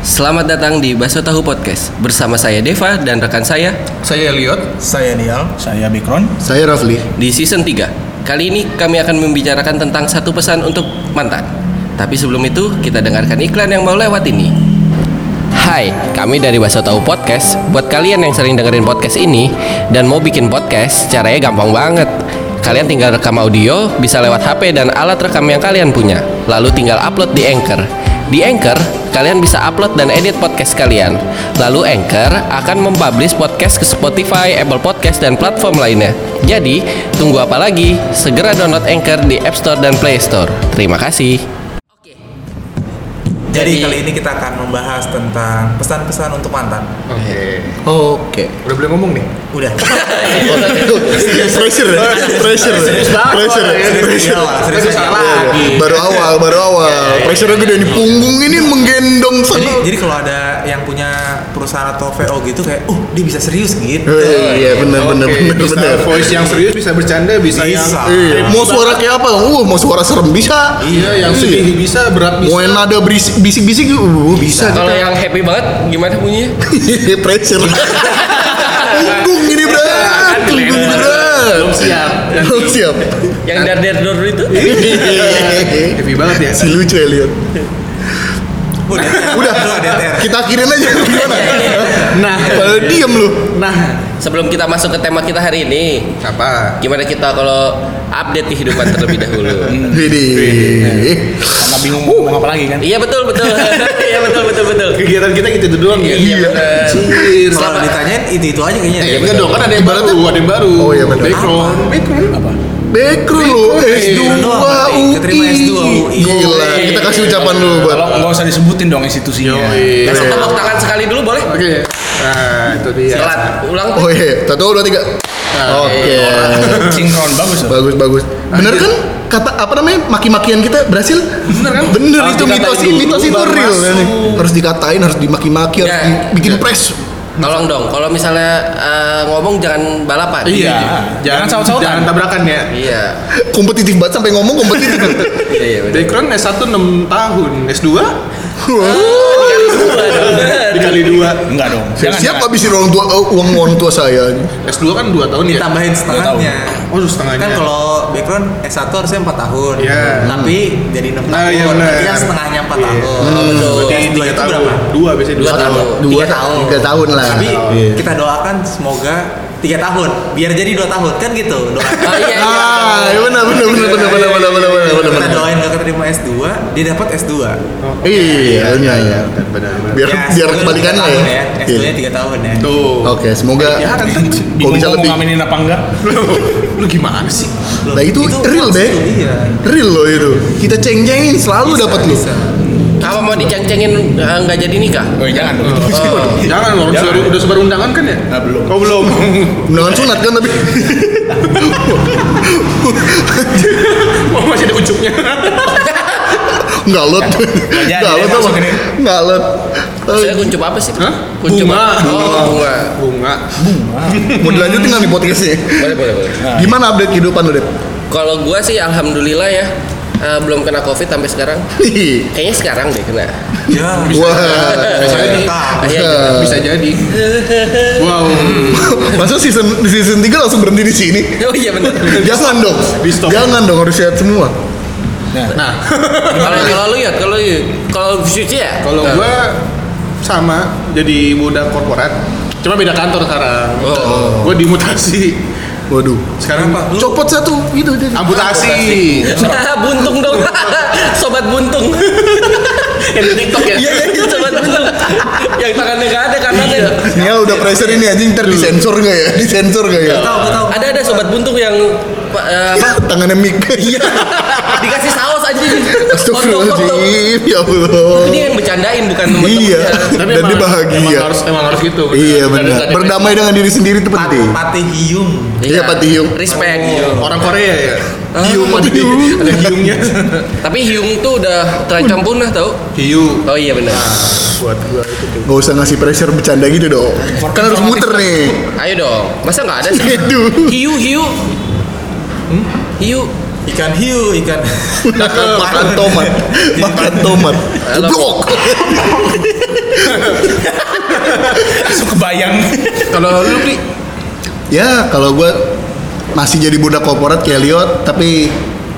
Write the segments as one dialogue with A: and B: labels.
A: Selamat datang di Baso Tahu Podcast bersama saya Deva dan rekan saya
B: Saya Elliot.
C: Saya Dial. Saya Bikron.
D: Saya Rafli.
A: di season 3. Kali ini kami akan membicarakan tentang satu pesan untuk mantan. Tapi sebelum itu kita dengarkan iklan yang mau lewat ini. Hai, kami dari Baso Tahu Podcast. Buat kalian yang sering dengerin podcast ini dan mau bikin podcast, caranya gampang banget. Kalian tinggal rekam audio, bisa lewat HP dan alat rekam yang kalian punya. Lalu tinggal upload di Anchor. Di Anchor, kalian bisa upload dan edit podcast kalian. Lalu Anchor akan mempublish podcast ke Spotify, Apple Podcast, dan platform lainnya. Jadi, tunggu apa lagi? Segera download Anchor di App Store dan Play Store. Terima kasih. Jadi-
C: Jadi, kali ini kita akan membahas tentang pesan-pesan untuk mantan.
D: Oke.
B: Oke. Udah boleh ngomong nih.
C: Udah.
D: Pressure, ya? pressure, pressure, pressure.
C: Serius lagi.
D: Baru awal, baru awal. Pressure gede di punggung ini menggendong
C: Jadi,
D: sama.
C: jadi kalau ada yang punya perusahaan atau VO gitu kayak, uh, dia bisa serius gitu.
D: Eh, Iya, benar, benar,
B: Oke,
D: benar,
B: bisa
D: benar.
B: voice yang serius, bisa bercanda,
C: Bisa.
B: bisa, yang
D: Iya. Mau suara kayak apa? Uh, mau suara serem bisa.
B: Iya, yang sedih bisa, berat bisa.
D: Mau yang nada berisi- bisik-bisik, uh, bisa. gitu. Iya,
A: Kalau yang happy banget, gimana bunyinya?
D: pressure. Punggung ini berat, punggung ini berat. Belum siap. Belum siap.
A: Yang dar dar dor itu?
B: Happy banget ya.
D: Si lucu ya lihat.
C: Udah.
D: Udah,
C: Udah, DTR.
D: kita akhirin aja gimana?
B: Nah,
D: Pada diam lu.
B: nah,
A: Sebelum kita masuk ke tema kita hari ini,
B: apa?
A: gimana kita kalau update kehidupan terlebih dahulu?
B: Hmm.
D: Widih.
B: Karena bingung mau ngomong apa lagi kan?
A: Iya betul betul. Iya betul betul betul.
B: Kegiatan kita gitu doang ya.
A: Iya, benar.
B: Anjir.
C: Kalau ditanyain itu-itu aja kayaknya.
D: Iya,
B: Eh, enggak dong, kan ada yang baru, ada yang baru.
D: Oh, iya, benar.
B: Background, background apa?
D: Backroom lu S2
C: Backroom doang,
D: UI.
C: keterima S2 UI.
D: Gila, kita kasih ucapan dulu buat.
E: Tolong nggak usah disebutin dong institusinya.
C: Iya.
B: Oh,
A: Kasih Nah, tepuk tangan sekali dulu boleh?
B: Iya. Oke. Nah, itu dia.
A: Silat, ulang.
D: Oh iya, satu dua tiga. Oke,
E: Sinkron bagus loh.
D: bagus bagus. Bener kan kata apa namanya maki-makian kita berhasil? Bener kan? Bener
B: Harus
D: itu
B: dikatain
D: mitos
B: dulu,
D: mitos itu
B: baru
D: real.
B: masuk.
D: Harus dikatain, harus dimaki-maki, harus
A: Ya.
D: dibikin press.
A: Tolong dong, kalau misalnya eh, ngomong jangan balapan.
B: Iya.
E: Jangan saut-sautan.
B: Jangan tabrakan ya.
A: Iya.
D: Kompetitif banget sampai ngomong kompetitif.
A: Iya, iya betul.
B: Background S1 6 tahun, S2 dikali 2.
E: Enggak dong. Jangan,
D: Siap
E: jangan.
D: habisin orang tua eh, uang orang tua saya.
B: S2 kan 2 tahun ya.
C: Tambahin setengahnya.
B: Oh, setengahnya.
C: Kan kalau background S1 harusnya 4 tahun.
B: Iya.
C: Tapi jadi 6 tahun.
B: Ah, iya, benar.
C: Berarti kan setengahnya 4
B: Iya.
C: tahun.
A: Oh, betul.
C: Berarti S2 itu berapa?
B: 2 biasanya 2
A: Dua
B: tahun.
A: tahun.
D: Dua
C: tiga tahun.
D: tiga tahun lah. Iya.
C: Tapi kita doakan semoga tiga tahun biar jadi dua tahun kan gitu doa.
A: Oh, iya, iya.
D: Ah, iya benar benar benar benar benar benar benar benar benar
C: kita
D: benar.
C: doain gak keterima S2 dia dapat S2
D: Iya, iya, iya.
B: Benar, benar.
D: Biar biar
C: S2
D: kebalikannya ya.
C: Ya, tiga tahun S2 nya
D: Iya.
C: 3 tahun ya
B: Tuh.
D: Oke, semoga
B: Ya kan kan
D: kalau
E: Bingung
D: bisa
E: mau
D: lebih.
E: ngaminin apa enggak?
B: lu gimana sih?
C: Loh,
D: Nah, itu real,
C: maksud
D: Be.
C: lu, iya.
D: Real loh itu. Kita ceng-cengin selalu
C: Bisa,
D: dapat lu.
C: bisa.
A: Apa mau diceng-cengin eh, nggak jadi nikah?
E: Oh, jangan dong.
B: Jangan orang
E: Jangan.
B: sudah udah sebar undangan kan ya?
E: Nah, belum.
B: Oh, belum.
D: Undangan sunat kan tapi.
B: Oh, masih ada ujungnya.
D: Ngalot.
E: jadi,
D: Ngalot
E: masuk
D: apa?
E: ini.
D: Ngalot.
A: Saya kuncup apa sih?
B: Oh. Hah?
A: Kuncup
B: Bunga.
A: apa? Oh, bunga.
B: Bunga.
D: Mau dilanjutin nggak nih podcastnya?
A: Boleh, boleh, boleh.
D: Gimana update kehidupan lu, Dep?
A: Kalau gua sih alhamdulillah ya eh, belum kena covid sampai sekarang. Kayaknya sekarang deh kena.
C: ya
D: Wah. Eh,
C: bisa
B: Bisa
C: jadi
B: jadi.
A: Iya,
B: Bisa jadi. Wow. Hmm.
D: Masa season season 3 langsung berhenti di sini?
A: Oh iya benar.
D: Jangan dong.
B: Di stop.
D: Jangan dong harus sehat semua.
B: Nah,
A: Kalau kalau lu ya, kalau lu- kalau suci ya.
B: kalau gua sama jadi budak korporat. Cuma beda kantor sekarang.
A: Oh.
B: Gua dimutasi.
D: Waduh.
B: Sekarang apa?
D: Copot satu gitu jadi.
B: Amputasi.
A: buntung dong. Sobat buntung.
B: Yang di TikTok ya.
A: Iya, iya, sobat buntung. Yang tangannya enggak ada kanannya.
D: Ya udah pressure ini anjing ntar disensor gak ya? Disensor gak ya?
C: tahu gua tahu
A: Ada ada sobat buntung yang pa- eh, apa?
D: Tangannya mic.
A: Iya. Dikasih saus aja.
D: Astagfirullahaladzim, ya Allah.
A: Ini yang bercandain bukan temen-temen.
D: Iya,
B: Tapi
D: dan
B: emang-
D: dia
B: Emang
D: bahagia.
B: harus emang harus gitu.
D: Iya
B: Ada-
D: benar.
B: ada-
D: Berdamai dengan diri sendiri itu
C: Pat-
D: penting.
C: Pate Hiung
D: Iya, Pak Tiung.
A: Respect. Iya. Ah,
B: Orang Korea ya.
D: Hiu, Pak Tiung.
B: Ada hiungnya.
A: Tapi Hyung tuh udah terancam punah tau.
B: Hiu.
A: Oh iya benar.
B: Buat gua itu tuh.
D: Gak usah ngasih pressure bercanda gitu dong. Kan harus muter nih.
A: Ayo dong. Masa nggak ada sih?
D: Aduh.
A: Hiu hiu. Hiu.
C: ikan hiu ikan
D: makan tomat makan tomat
A: Halo.
D: blok
E: Langsung kebayang.
A: Kalau lu Pri,
D: ya kalau gue masih jadi budak korporat kayak Liot tapi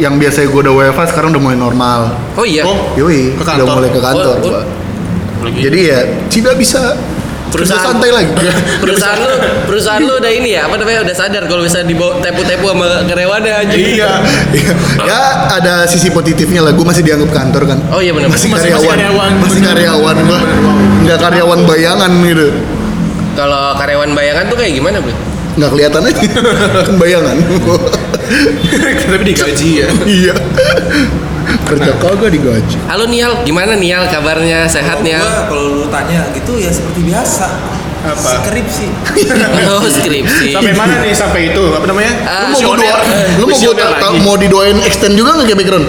D: yang biasanya gue udah WFH sekarang udah mulai normal
A: oh iya,
B: Oh,
D: yoi
B: Ke
D: udah
B: kantor.
D: mulai ke kantor
A: Oh, oh.
D: gua. jadi ya tidak bisa tidak
A: Perusahaan.
D: santai lagi
A: perusahaan lu, perusahaan lu udah ini ya, apa namanya udah sadar kalau bisa dibawa tepu-tepu sama karyawannya anjing.
D: Iya. ya ada sisi positifnya lah. Gue masih dianggap kantor kan.
A: Oh iya benar.
D: Masih
E: Masih- masih
D: karyawan.
E: karyawan.
D: Masih
E: Bener.
D: karyawan gua. Nggak karyawan bayangan gitu.
A: Kalau karyawan bayangan tuh kayak gimana, Bro?
D: Nggak kelihatan aja. Kan bayangan.
B: Tapi digaji ya.
D: iya. Kerja kagak digaji.
A: Halo Nial, gimana Nial kabarnya? Sehat
C: Kalau
A: Nial?
C: gua- kalau lu tanya gitu ya seperti biasa
B: Apa?
C: skrip sih
A: Oh, skripsi.
B: Sampai mana nih sampai itu? Apa namanya?
A: Ah,
D: Lu mau gua doa, lu mau gua
B: Visioner
D: ta- ta-
B: lagi.
D: mau didoain extend juga nggak kayak background?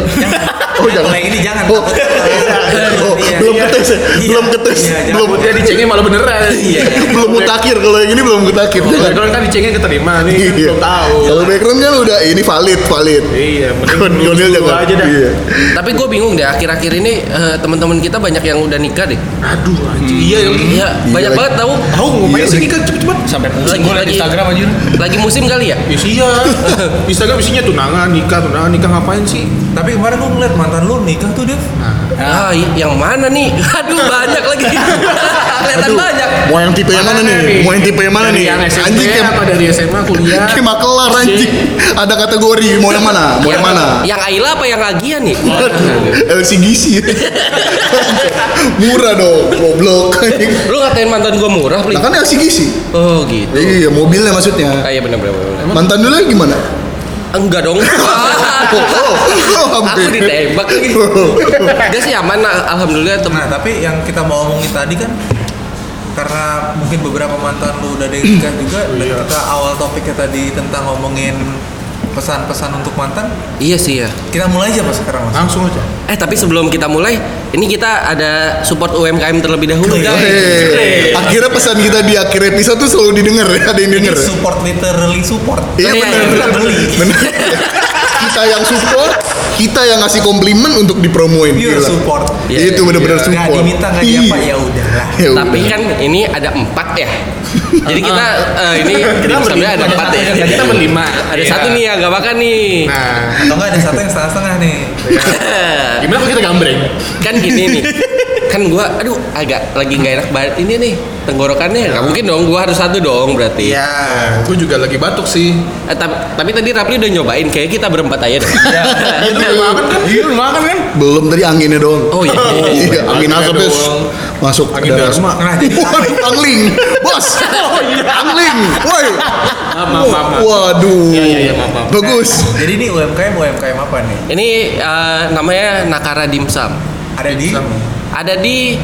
D: Oh jangan.
C: mulai ini jangan
D: Oh, oh,
C: Iya.
D: belum ketes, ya?
C: Iya.
D: belum ketes,
C: Iya, jangan.
D: belum
B: Ya dicengin malah beneran.
C: Iya.
D: belum mutakir kalau yang ini belum mutakir. Jangan.
B: Background kan dicengin keterima nih, kan
D: Iya.
B: belum tahu.
D: Kalau background kan udah ini valid, valid.
B: Iya, mending
D: Kon-
B: lulus
D: Konil
B: dulu
D: jangan.
B: aja dah.
D: Iya.
A: Tapi gue bingung deh akhir-akhir ini eh, teman-teman kita banyak yang udah nikah deh.
B: Aduh, anjing. Iya,
A: Iya, banyak
D: lagi.
A: banget tahu.
B: tahu
D: Iya,
B: ngapain sih
D: lagi.
B: nikah cepet-cepet?
E: Sampai pusing
A: Lagi-
E: gue liat
A: lagi-
E: Instagram anjir.
A: Lagi musim kali ya?
B: Ya sih ya. Instagram isinya tunangan, nikah, tunangan, nikah ngapain sih?
C: tapi kemarin gua ngeliat mantan lu nikah tuh Dev
A: Ah, i- yang mana nih? Aduh, banyak lagi. Kelihatan
D: Aduh,
A: banyak.
D: Mau yang tipe yang mana nih? Mau yang tipe yang mana
B: Dari
D: nih?
B: Yang SMP
D: Anjing kayak
B: apa dari SMA kuliah?
D: kayak makelar anjing. Ada kategori mau yang mana? Mau yang mana?
A: Yang Aila apa yang Agia nih?
D: LCGC Murah dong, goblok.
A: Lu ngatain mantan gue murah, Pli.
D: Nah kan LCGC.
A: Oh, gitu.
D: Iya, mobilnya
A: Ah,
D: maksudnya.
A: iya benar benar. benar.
D: Mantan dulu gimana?
A: Enggak dong.
D: Oh, oh, oh,
A: Aku
D: hampir. Oh,
A: ditembak lagi. Dia sih aman, nah, alhamdulillah teman.
C: Nah, tapi yang kita mau omongin tadi kan karena mungkin beberapa mantan lu udah ada yang nikah juga dan
A: Iya.
C: kita awal topiknya tadi tentang ngomongin pesan-pesan untuk mantan,
A: Iya sih ya.
C: kita mulai aja pas sekarang Mas.
B: Langsung aja.
A: Eh tapi sebelum kita mulai, ini kita ada support UMKM terlebih dahulu
C: Keren.
A: guys.
D: Eh, Akhirnya pesan kita di akhir episode tuh selalu didengar ya, ada yang denger. ya?
C: Support literally support.
D: Iya
A: Iya,
D: benar.
C: kita beli.
D: Benar. kita yang support, kita yang ngasih komplimen untuk dipromoin.
C: Pure
D: Gila.
C: support.
A: Iya,
D: itu
A: iya.
D: benar-benar
C: Nggak
D: support.
C: diminta nggak
D: Iya.
C: diapa ya udahlah.
D: Ya udah.
A: Tapi kan ini ada empat ya. Jadi kita eh, ini sebenarnya ada empat ya.
B: Kita berlima.
A: Ada satu nih yang gak makan nih.
B: Nah,
C: Atau nggak ada satu yang setengah-setengah nih.
A: Iya.
B: gimana kalau kita gambreng?
A: kan gini nih. Kan gua aduh agak lagi nggak enak banget ini nih tenggorokannya. Nggak mungkin dong gua harus satu dong berarti.
C: Iya.
B: Gue juga lagi batuk sih.
A: Eh, tapi, tapi tadi Rapli udah nyobain kayak kita berempat aja deh.
E: Eh,
B: Itu belum makan kan? Iya, belum makan kan?
D: belum tadi anginnya doang.
A: Oh iya.
D: Iya, angin
B: Anginnya
D: asapnya
B: doang.
D: masuk
B: Angin
D: ke
B: dari rumah.
C: Nah, jadi
D: Waduh, angling, bos, angling, woi,
B: iya. Maaf, Ah, maaf, maaf, maaf.
D: waduh,
B: iya, iya, maaf, maaf.
D: bagus.
C: jadi ini UMKM UMKM apa nih?
A: Ini eh, namanya Nakara Dimsum.
C: Ada di
A: Ada di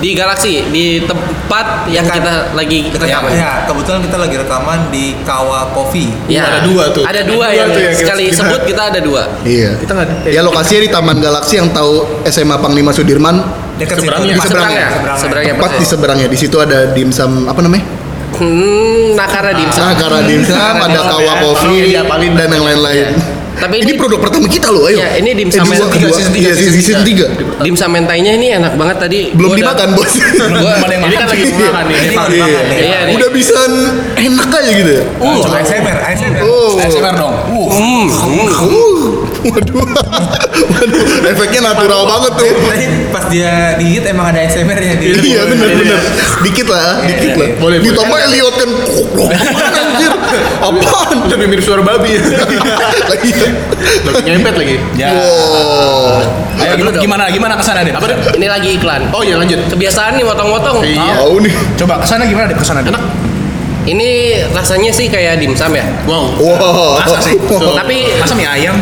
A: di Galaxy di tempat yang
C: Dekat-
A: kita lagi
C: dekat
A: rekaman.
C: ya, kebetulan kita lagi rekaman di Kawa Coffee.
A: Ya.
B: Ada dua tuh.
A: Ada
B: Ada
A: dua
B: dua
A: yang
B: tuh yang kita-
A: sekali
B: kita-
A: sebut kita ada dua.
D: Iya.
B: Kita nggak-
D: Ya lokasinya di Taman Galaksi yang tahu SMA Panglima Sudirman,
C: Dekat
B: Seberangnya.
C: situ.
A: Di seberangnya.
C: Seberangnya.
A: Seberangnya
D: tepat di
A: persis.
D: seberangnya. Di situ ada dimsum apa namanya?
A: Hmm, Nakara Dimsum.
D: Nah, karena dimsum
A: Nakara
D: ada
A: Dimsum.
D: kawa
B: Tolong
D: kopi
B: ya, diapalin.
D: dan yang lain-lain.
A: Iya. Tapi
D: ini,
A: ini-
D: produk pertama kita loh, ayo.
A: Iya, ini dimsum
D: eh, dua,
A: season tiga,
D: kedua.
A: season tiga,
D: Iya,
A: season
D: season
A: tiga.
D: 3.
A: Dimsum mentainya ini enak banget tadi. Gua
D: Belum
A: udah-
D: dimakan, Bos.
A: Gua-
E: Belum ada yang
B: Ini kan
E: makan.
B: lagi belum makan nih.
C: Ini
B: Pak.
C: baru makan nih.
A: Iya, nih.
D: Udah bisa enak aja gitu ya.
C: Uh, coba ASMR, ASMR.
D: Oh.
E: ASMR dong. Uh.
A: Hmm, hmm.
D: Uh, waduh. waduh, efeknya natural banget tuh.
C: Tadi pas dia digigit emang ada ASMR nya di.
D: Iya bener bener Dikit lah,
A: Iya,
D: dikit lah.
B: Boleh, boleh.
D: Ditambah Elliot kan anjir. Apaan?
B: Lebih mirip suara babi.
D: Lagi.
B: Lebih nyempet lagi.
E: Ya.
D: Wow.
E: Ayo
A: Dulu
E: gimana,
A: dong.
E: gimana gimana kesana deh? Apa
A: Ini lagi iklan.
B: Oh iya lanjut.
A: Kebiasaan nih motong-motong. Ah,
B: Iya.
D: Tahu nih.
E: Coba kesana gimana deh kesana deh. Enak.
A: Ini rasanya sih kayak dimsum ya.
B: Wow.
D: Wow.
E: Masa sih?
D: Wow.
A: Tapi
E: Masa mie ayam?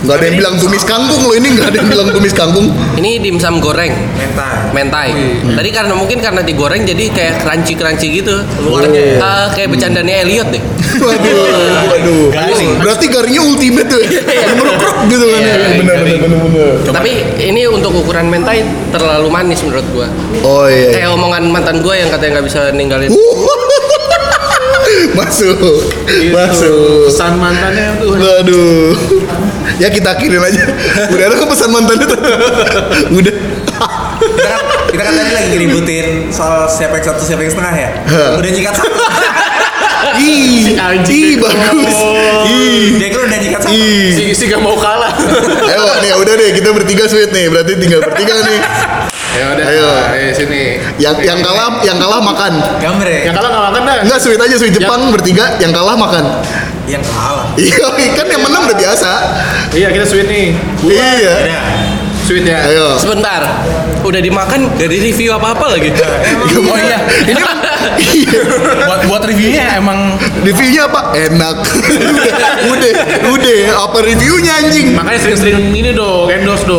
D: Nggak ada yang bilang tumis kangkung loh ini nggak ada yang bilang tumis kangkung.
A: ini dimsum goreng
C: Mental.
A: mentai.
E: Hmm.
A: Tadi karena mungkin karena digoreng jadi kayak crunchy-crunchy gitu. Luarnya
D: ya?
A: kayak bercandanya Elliot deh.
D: Waduh, waduh.
E: Garing.
D: Berarti garingnya ultimate tuh. ya. Merukruk gitu kan.
A: Iya,
D: Bener bener bener bener.
A: Tapi ini untuk ukuran mentai terlalu manis menurut gua.
D: Oh iya.
E: Eh.
A: Kayak omongan mantan gua yang katanya nggak bisa ninggalin.
D: Uh, masuk
B: Gitu.
D: masuk
B: Pesan mantannya tuh.
D: Waduh. Ya kita akhirin aja. Udah ada kok pesan mantannya tuh. Udah.
C: kita kan kita kan tadi lagi ngeributin soal siapa yang satu siapa yang setengah ya
D: Hah.
C: udah nyikat satu
D: Ih,
B: Anji.
D: ih bagus. Ih.
C: dia kan udah nyikat satu
D: Ih.
B: Si, si gak mau kalah.
D: Ayo nih udah deh kita bertiga sweet nih. Berarti tinggal bertiga nih.
B: ya udah.
D: Ayo.
B: Ayo sini.
D: Yang yang kalah yang kalah makan.
C: gambar ya
B: Yang kalah nggak makan dah.
D: Enggak sweet aja sweet Jepang bertiga yang kalah makan.
C: yang kalah
D: Iya, kan yang menang udah biasa.
B: Iya kita sweet nih.
D: Iya.
C: ya
B: Sweet ya.
D: Ayo.
E: Uh.
A: Sebentar, udah dimakan gak di review apa-apa lagi.
E: Oh iya, ini buat buat reviewnya emang
D: Reviewnya apa? Enak. udah, udah. Apa reviewnya anjing?
B: Makanya sering-sering ini dong, endorse dong.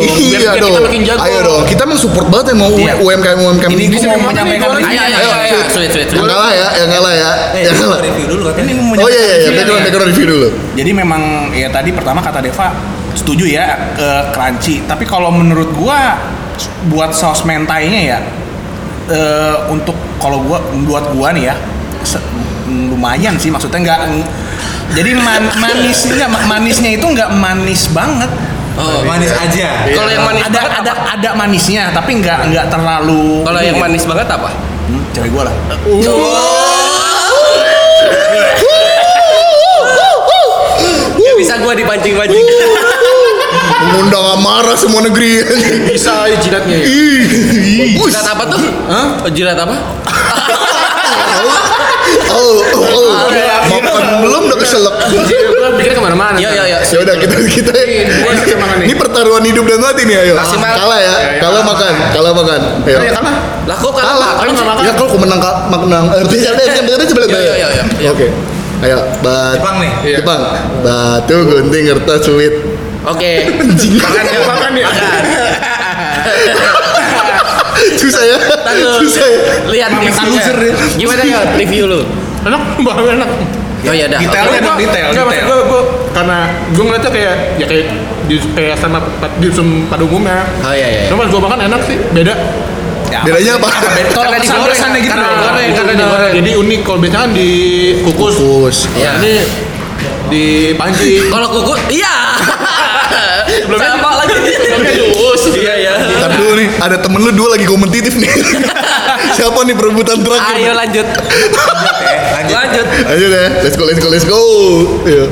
D: Iya
B: Biar biar
D: dong.
B: kita makin jago.
D: Ayo dong. Kita emang support banget emang
E: Iya.
D: UMKM UMKM
E: ini
D: di
E: gue
D: sini.
E: mau menyampaikan
B: Ayo,
E: reviewnya.
A: ayo, ayo, sweet, sweet,
D: Yang
A: sweet.
D: kalah ya, yang kalah ya.
E: Iya,
C: eh
D: Yang
C: gua
D: kalah.
C: review dulu katanya
E: Ini
D: Oh iya iya, iya.
E: menyampaikan
D: background
E: reviewnya.
D: background review dulu.
E: Jadi memang ya tadi pertama kata Deva setuju ya ke crunchy. Tapi kalau menurut gua buat saus mentainya ya eh, untuk kalau gua buat gua nih ya se- lumayan sih maksudnya nggak jadi man- manisnya manisnya itu nggak manis banget.
A: Oh,
C: manis aja
A: kalau yang manis
E: ada
A: banget
E: ada
A: apa?
E: ada manisnya tapi nggak nggak terlalu
A: Kalau yang manis banget apa?
E: Hmm, cewek gua lah. Uh.
A: Gak bisa gua dipancing-pancing.
D: Mengundang amarah semua negeri.
B: Bisa aja jidatnya. ya.
D: Ih, ih.
A: Jilat apa tuh? Hah? Jilat apa?
D: Oh, oh, oh. Makan belum udah keselak.
B: Jadi gue pikir kemana-mana.
A: Ya, ya, ya.
D: Ya udah kita kita.
B: Gue bisa makan nih.
D: Ini pertaruhan hidup dan mati nih ayo.
A: Maksimal.
D: Kalah ya. Kalah makan, kalah makan. Ayo.
B: Ya kalah.
A: Lah kok
D: Kalah.
A: kalah?
B: nggak makan.
D: Ya kalau aku menang ka- menang. Eh, bisa deh, bisa deh, sebelah
A: Iya,
D: saya.
A: iya, iya, iya.
D: Oke. Ayo, bat.
C: Jepang nih
B: Iya.
D: Jepang. Batu gunting kertas sulit.
A: Oke.
B: Makan ya, makan ya.
D: Susah ya.
A: Ntar lu
D: Susah ya.
A: lihat
E: Mametan
A: reviewnya.
E: loser ya.
A: Gimana ya review lu?
B: Enak banget enak.
A: Oh ya udah.
E: Detailnya
A: Oke.
E: dong, detail,
B: Enggak maksud
E: detail.
B: gue, gue karena gue ngeliatnya kayak ya kayak di, kayak sama pat- dimsum pada umumnya.
A: Oh iya iya.
B: Cuma pas gue makan enak sih, beda.
E: Ya,
D: Bedanya apa?
E: Kalau
A: Karena
E: pesan-
A: digoreng,
E: pesannya gitu.
A: karena
E: loh.
A: digoreng.
B: Karena digoreng. Jadi unik kalau biasanya kan dikukus.
D: Kus.
A: Iya.
B: Ini dipancing.
A: Kalau kuku, iya. Sama lagi.
B: Sebelumnya dius.
A: Iya ya.
D: Ntar dulu nih, ada temen lu dua lagi kompetitif nih. Siapa nih perebutan terakhir?
A: Ayo lanjut.
C: Oke, lanjut
A: Lanjut.
D: Ayo deh, let's go, let's go, let's go. Iya.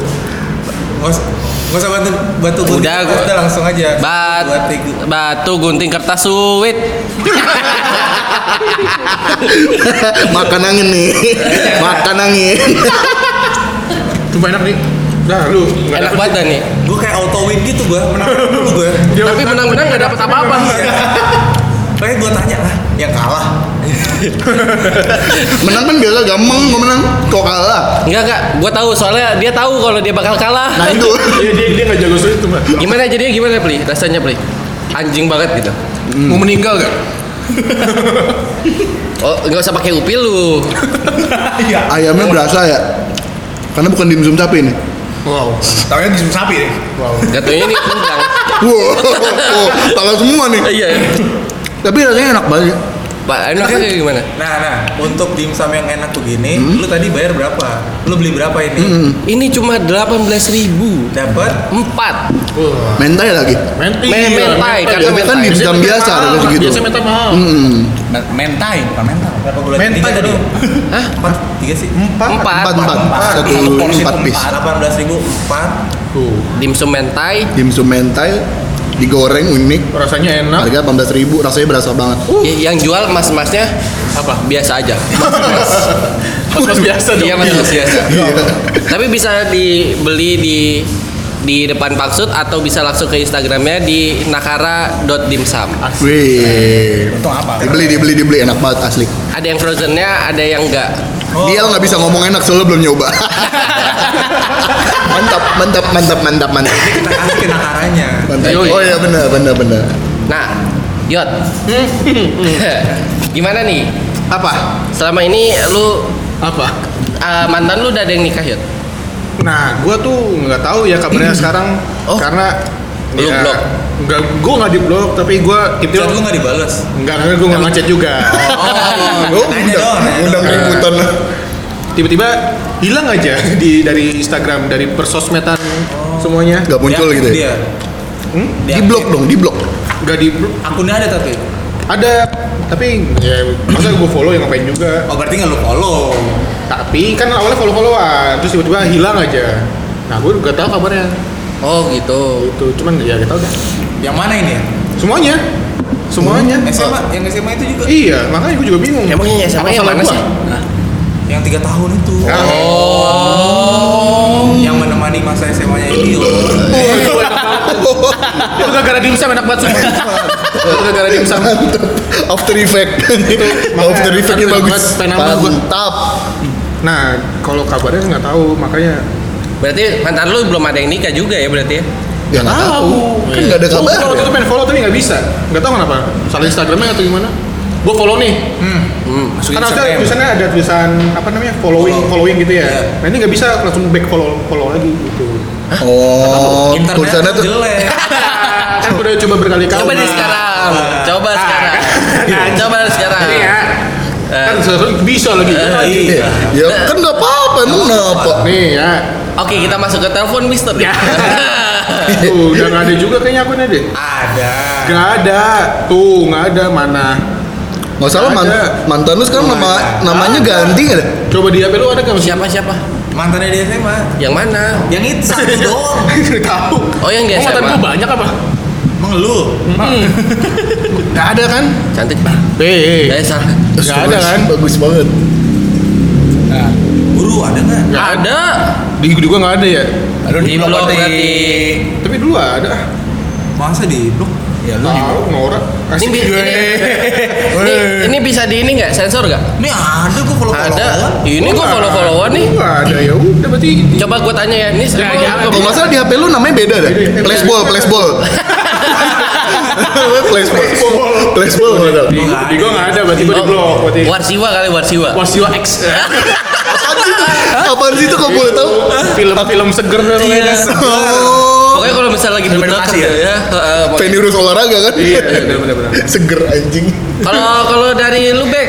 C: Gak usah- gak usah batu batu gunting.
A: Udah, gua-
C: udah langsung aja
A: Bat,
C: Dua, tiga.
A: batu gunting kertas suwit.
D: Makan angin nih. Makan angin.
B: Cuma enak nih. Dah lu. nggak
A: Enak
B: dapet.
A: banget dah nih.
C: Gua kayak auto win gitu gua menang dulu gua
A: Tapi
B: Dia menang.
A: menang-menang nggak dapat apa-apa.
C: Makanya gua tanya lah yang kalah
D: Menang kan biasa gampang mau menang. Kok kalah?
A: Enggak enggak, gua tahu soalnya dia tahu kalau dia bakal kalah.
D: Nah itu.
B: Iya, Dia dia dia nggak jago sulit tuh mah.
A: Gimana jadinya gimana Pli? Rasanya Pli? Anjing banget gitu.
B: Mau meninggal gak?
A: Oh, enggak usah pakai upil lu.
D: Ayamnya berasa ya. Karena bukan dimsum sapi nih.
B: Wow.
E: Tapi kan disuruh sapi deh.
A: Jatuhnya ini kundang.
D: Wow, oh, salah semua nih.
A: Iya.
D: Tapi rasanya enak banget.
A: Pak, enaknya kayak gimana?
C: Nah, nah, untuk dimsum yang enak begini,
E: Hmm?
C: lu tadi bayar berapa? Lu beli berapa ini?
A: Ini cuma 18.000.
C: Dapat
A: Empat.
D: Mentai lagi.
B: Mentai.
A: Me-
B: iya,
A: mentai,
B: mentai.
A: karena
D: Tapi kan
A: mentai.
D: dimsum biasa
B: mahal,
D: harus gitu.
B: Biasanya mentai mahal.
D: Hmm,
E: Men- Mentai, bukan mental.
C: berapa bulan?
E: Mental
C: Tiga
E: tadi.
A: Hah?
C: Empat, tiga sih.
D: empat
A: Empat.
D: empat satu
E: Satu porsi
D: empat
E: itu
D: piece.
C: Delapan belas ribu empat.
B: Tuh.
A: Dimsum mentai.
D: Dimsum mentai digoreng unik.
B: Rasanya enak.
D: Harga 18.000 rasanya berasa banget.
B: Uh.
A: Y- Yang jual mas-masnya
B: Apa?
A: biasa aja.
B: Mas biasa dong.
A: Iya mas-mas biasa.
D: Iya.
A: Tapi bisa dibeli di di depan Paksud atau bisa langsung ke Instagramnya di nakara.dimsum.
D: Wih.
E: Untung apa?
D: Dibeli, dibeli, dibeli enak banget asli.
A: Ada yang frozennya, ada yang enggak.
D: Dia nggak bisa ngomong enak soalnya belum nyoba. mantap, mantap, mantap, mantap, mantap.
C: Kita kasih ke nakaranya.
D: Mantap.
A: Yoi.
D: Oh iya benar, benar, benar.
A: Nah, Yot. Gimana nih?
D: Apa?
A: Selama ini lu
B: Apa?
A: eh, mantan lu udah ada yang nikah, Yot?
B: Nah, gua tuh nggak tahu ya kabarnya sekarang
A: Oh.
B: karena
A: Lu blok.
B: Enggak, gua nggak di blok, tapi gua
C: Chat
B: itu
C: lu nggak dibalas.
B: enggak enggak gua nggak ngechat juga. Nah,
D: Oh,
C: Oh, nanya
D: undang,
C: dong. nanya
D: undang
C: dong.
D: ributan lah.
B: tiba-tiba hilang aja di dari Instagram dari persosmedan semuanya
D: Gak muncul
C: Dia-
D: gitu ya?
C: dia. Dia-
D: Di blok dong, di blok.
B: gak di
C: akunnya ada tapi
B: ada tapi ya masa gue follow yang ngapain juga
C: oh berarti nggak lu follow
B: tapi kan awalnya follow followan terus tiba-tiba hilang aja nah gue gak tahu kabarnya
A: Oh gitu.
B: itu cuman ya gak tahu deh
C: yang mana ini ya
B: semuanya semuanya
C: SMA yang SMA itu juga
B: iya makanya gue juga bingung
A: Emangnya SMA iya,
B: Apa
A: yang ya?
B: salah
A: mana
B: gua?
A: sih?
C: yang tiga tahun itu
B: Ah.
A: Oh.
C: yang menemani masa SMA nya Elio
B: itu gara-gara dimsum enak banget sumpah. itu gara-gara dimsum
D: After Effect. After Effect-nya
B: Kan
D: bagus.
B: pengen banget, pengen
D: Mantap.
B: nah kalau kabarnya nggak tahu makanya
A: Berarti mantan lu belum ada yang nikah juga ya berarti ya?
D: Ya nggak tahu. Kan nggak ada
B: Gua
D: kabar.
B: Kalau
D: ya?
B: itu pengen follow tapi nggak bisa. Nggak tahu kenapa. Salah Instagramnya atau gimana? Gue follow nih.
A: Hmm,
E: Masuk
B: Kan harusnya
E: Instagram.
B: tulisannya ada tulisan apa namanya following
C: Follow.
B: following gitu ya.
C: Iya.
B: Nah ini nggak bisa langsung back follow follow lagi gitu.
D: Oh, tulisannya
C: internet
D: tuh
C: jelek
B: kan udah coba berkali-kali.
A: Coba deh sekarang. Coba sekarang. Nah, Coba sekarang.
B: Ini ya. Kan seharusnya bisa lagi.
A: Eh,
B: Kan lagi.
A: iya.
D: ya kan nggak apa-apa, emang kenapa?
B: Nih ya.
A: Oke, kita masuk ke telepon Mister.
B: Ya.
A: Eh.
B: Tuh, udah nggak ada juga kayaknya akunnya deh.
C: ada
B: Nggak ada. Tuh nggak ada mana.
D: Nggak salah man-
B: Ada.
D: mantan lu sekarang nama namanya ganti nggak ada?
B: Coba di HP lu ada nggak?
A: siapa siapa?
C: mantannya di SMA
A: Yang mana?
C: yang itu satu doang
B: Tahu.
A: Oh, yang di
B: Oh, mantan
A: SMA.
B: gua banyak apa?
C: emang lu
B: Nggak ada kan?
A: Cantik pak.
B: Eh,
A: Saya salah.
B: Nggak ada kan?
D: Bagus banget.
E: Nah,
C: guru ada nggak
B: Nggak
A: Ada.
B: Di, di gua nggak ada ya.
E: baru
A: Di
E: di blok
A: blok
E: berarti.
B: Tapi dulu ada.
C: masa di blok
E: Ya lu
B: Tahu norak.
A: Nah. Ini,
B: Asik
A: bi-
B: juga.
A: ini, ini, ini bisa di ini nggak? Sensor nggak?
C: ini ada gua follow
A: Ada.
C: followan
A: Ini gua
B: Nggak.
A: follow followan nih.
B: Nggak ada ya udah berarti.
A: Coba gua tanya ya. Ini
B: Jangan,
A: emang-
B: jangan.
D: Kalau nggak salah di HP lu namanya beda dah.
B: Beda.
D: Flashball, flashball. flashball. Flashball nggak ada.
B: Di, di gua nggak ada berarti gua
A: Oh.
B: di blog berarti.
A: Warsiwa kali Warsiwa. Iya.
B: Wasio X.
D: Apaan sih itu? Apaan sih itu kok boleh tahu?
B: Film-film seger
A: Iya.
B: namanya.
A: Pokoknya kalau misalnya lagi
E: Bermeditasi
A: deg-degan ya. heeh, pokoknya.
D: Penny urus olahraga kan?
B: Iya, iya, benar-benar.
D: Seger anjing.
A: Kalau kalau dari lu Bek,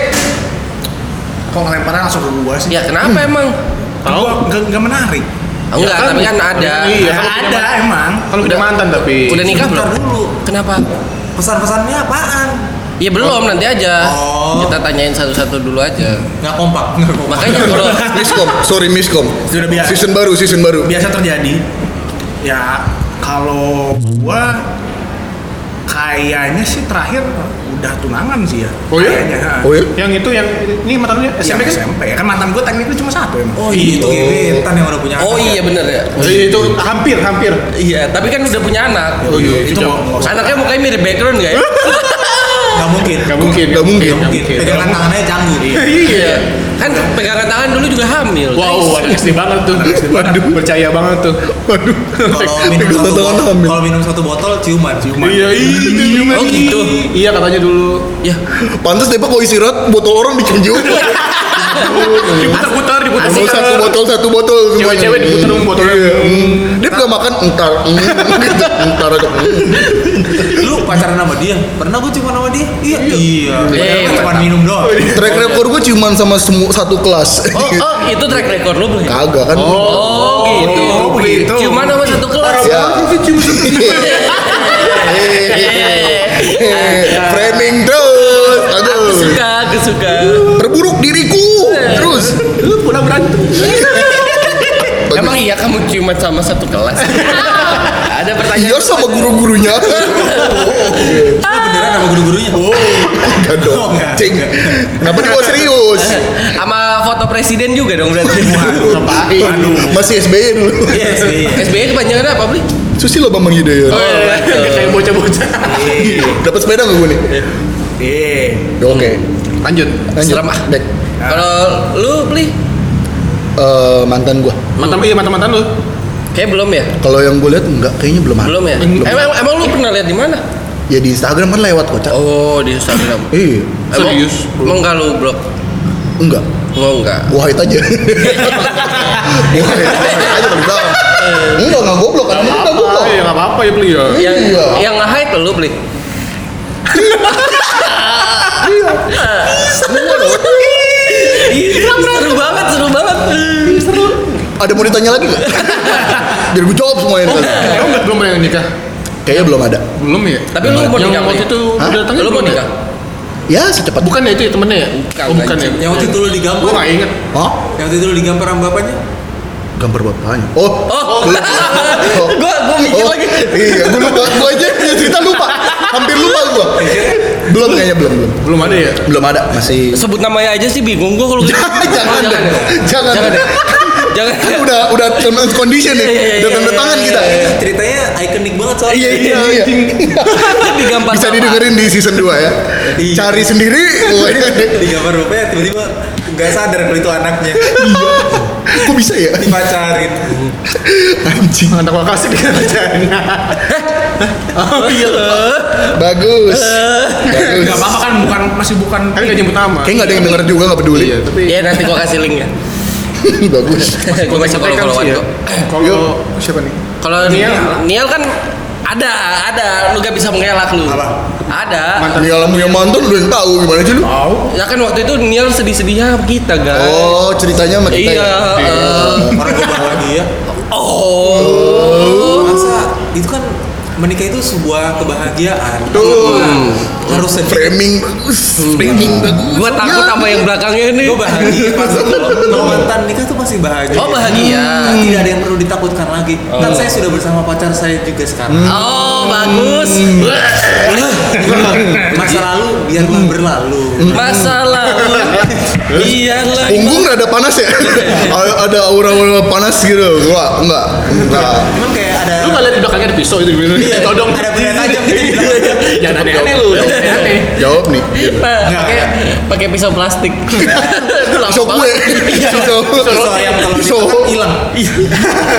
E: kok ngelemparnya langsung ke gua sih?
A: ya kenapa emang?
B: Tahu?
E: Enggak enggak menarik.
A: Enggak,
B: kan?
A: tapi kan ada.
B: Iya,
E: Ya,
B: kalau punya
E: ada emang.
B: Kalau udah mantan tapi.
A: Udah nikah
C: Bentar
A: belum?
C: dulu.
A: Kenapa?
C: pesan-pesannya apaan
A: Ya belum nanti aja.
C: Oh.
A: Kita tanyain satu-satu dulu aja.
C: nggak kompak nggak kompak
A: Makanya kalau
D: Miskom, sorry miskom.
E: Sudah biasa.
D: Season baru, season baru.
E: biasa terjadi ya kalau gua kayaknya sih terakhir udah tunangan sih ya
B: Oh iya?
E: kayaknya ha.
D: Oh ya?
B: Yang itu yang ini mantan lu ya?
E: Yang
B: SMP kan?
E: SMP kan mantan gua tekniknya cuma satu emang
C: oh iya itu
D: Oh.
C: gebetan yang udah punya
A: Oh
C: anak ya.
A: iya bener ya.
B: Eh, Itu hampir, hampir.
A: Iya, tapi kan udah punya anak.
B: Oh iya,
E: itu nggak nggak usah
A: Anaknya mukanya mirip background nggak ya?
C: nggak mungkin
B: Gak mungkin,
D: Nggak mungkin.
B: Nggak
C: Iya, mungkin
B: Iya, mungkin.
C: pegangan tangannya canggung
A: Iya. Kan pegangan tangan dulu juga hamil.
B: Wow, anak SD banget tuh. Waduh, percaya banget tuh. Waduh.
C: kalau
D: Pegangan
C: minum satu
D: tangan
C: botol
D: hamil.
C: kalau minum satu botol ciuman ciuman
B: Iya, iya.
A: Oh, gitu.
B: Iya katanya dulu.
A: Ya,
D: Pantas Depa kok istirahat botol orang dicanjung.
B: Diputar-putar,
D: Botol
B: diputar-putar.
D: satu botol satu botol semuanya.
B: Cewek-cewek diputer um, botolnya.
D: Iya, um. Dia nggak makan entar um, gitu entar aja, um.
C: lu pacaran sama dia pernah gue ciuman sama dia iya iya
A: Iya,
C: Padahal cuma
A: mantap.
C: minum doang
D: Track record gue ciuman sama semua satu kelas.
A: oh,
B: Iya.
A: oh itu track record lu belum?
D: Kagak kan?
A: Oh, gitu.
E: oh, begitu.
A: Cuman sama satu kelas.
B: Iya,
D: Ya.
A: Iya,
D: Hehehe. Framing terus.
A: Aku
D: Aduh.
A: suka, aku suka.
D: Terburuk diriku. Terus.
B: Lu pernah berantem.
D: Bagus.
A: Emang iya kamu ciuman sama satu kelas? Ada pertanyaan.
D: Iya sama guru-gurunya.
C: Lu beneran sama guru-gurunya oh
D: Enggak
C: Oh,
D: dong.
C: enggak.
D: Cing. Kenapa dibawa serius?
A: Sama foto presiden juga dong berarti.
D: Aduh. Masih SBY dulu.
C: iya sih iya.
A: SBY kepanjangan apa, Bli?
D: Susilo Bambang
A: Oh,
D: Yudhoyono.
A: betul.
B: Kayak bocah-bocah.
D: Dapat sepeda nggak gue nih?
E: eh
A: Iya.
D: Ya, Oke.
B: Lanjut.
D: Lanjut.
A: Serem ah.
D: Dek.
A: Kalau lu, Bli?
D: Eh, mantan gue.
B: Mantan iya mantan-mantan lu.
A: Kayak belum ya?
D: Kalau yang gue lihat enggak kayaknya belum ada.
A: Belum ya? Emang emang lu pernah lihat di mana?
D: Ya di Instagram kan lewat kocak.
A: Oh, di Instagram.
D: Iya.
A: Emang-
B: Serius?
A: Emang enggak lu blok?
D: Enggak.
A: Oh enggak.
D: Wahid aja. Wahid aja paling tahu.
A: Eh.
D: Enggak enggak goblok kan enggak goblok.
B: Ah,
A: iya.
B: ya enggak apa-apa ya beli ya.
A: Yang
D: Iya.
A: yang nge-hide lu beli.
D: Semua loh.
A: Seru banget, seru banget.
D: Ada mau ditanya lagi nggak? Biar gue jawab semuanya. ntar.
B: Emang nggak- belum pernah nikah?
D: Kayaknya belum ada.
B: Belum ya?
A: Tapi lu mau nikah,
B: Yang waktu
A: Bli?
B: itu
D: Hah?
B: udah datangnya
A: Lu mau
B: belum ya?
A: nikah?
D: Ya secepat.
B: Bukan ya itu ya temennya ya?
A: Bukan,
B: Oh, bukan ya?
A: anjing.
C: Yang waktu itu lu
B: Gue
C: digambar.
B: nggak inget.
D: Hah?
C: Yang waktu itu lu digambar sama bapaknya.
D: Gambar bapaknya. Oh.
A: Oh.
D: Gua- oh.
A: Gua gua mikir
D: Oh,
A: lagi.
D: Iya, gue lupa. Gue aja punya cerita lupa. Hampir lupa gue. Belum kayaknya belum belum.
B: Belum ada ya?
D: Belum ada masih.
A: Sebut namanya aja sih bingung gua kalau gitu. Oh,
D: jangan, deh. Jangan.
A: Jangan
D: deh.
A: deh. Jangan.
D: Kan udah udah terms and condition nih.
A: Iya, iya,
D: Udah
A: iya,
D: tanda
A: iya,
D: tangan
A: iya,
D: kita.
C: Eh, ceritanya ikonik banget soalnya.
D: Iya iya iya.
A: Digambar
D: Bisa
A: sama.
D: didengerin di season 2 ya.
C: Iya.
D: Cari sendiri. Oh, iya.
C: Digambar bapaknya tiba-tiba nggak sadar kalau itu anaknya
D: Kok bisa ya?
C: dipacarin.
D: Anjing.
B: Anak makasih dia pacaran.
A: Oh, iya.
D: Bagus. Bagus.
E: Gak apa-apa kan bukan masih bukan
B: Tapi nggak nyebut nama.
D: Kayaknya Iya. nggak ada yang denger juga nggak peduli.
B: Iya, tapi
A: Ya nanti gua kasih linknya.
D: Bagus.
A: Eh, Gua kasih
B: kontak-kontakan
A: follow-followan
B: sih ya.
A: kok.
B: Kalau siapa nih?
A: Kalau
B: Niel.
A: Niel, Niel kan ada, ada. Lu gak bisa mengelak lu. Ada.
D: Ini alam yang mantan udah yang tahu gimana sih lu?
A: Ya kan waktu itu Niel sedih-sedihnya sama kita, guys.
D: Oh ceritanya sama kita.
A: iya.
D: ya?
A: eh.
C: Orang gue bawa dia.
A: oh.
C: Masa itu kan menikah itu sebuah kebahagiaan.
D: Tuh.
C: Harus sedih.
D: Framing bagus. Framing bagus.
A: Gua takut
D: Ya.
A: sama yang belakangnya ini.
C: Gue bahagia pas kalau mantan nikah tuh pasti bahagia. Hmm.
A: Oh, bahagia.
C: Tidak ada yang perlu ditakutkan lagi. Kan saya sudah bersama pacar saya juga sekarang. Ah.
A: Oh, bagus.
C: Masa lalu
A: Hmm.
C: biarlah berlalu.
A: Masalah. Iya, Biarlah.
D: Punggung rada panas ya. Ada- ada aura-aura panas gitu. Enggak, enggak. Enggak.
C: Emang kayak ada
B: Lu nggak lihat di belakangnya ada pisau itu gitu. Iya, todong.
C: ada benda tajam gitu di belakang.
B: Jangan aneh-aneh lu. jangan Aneh-aneh.
D: Jawab nih.
A: Nah, pakai pakai pisau plastik. Itu lama
D: Pisau gue.
A: banget.
D: Pisau.
C: Pisau yang kalau
D: Pisau.
C: gitu kan hilang.
A: Iya.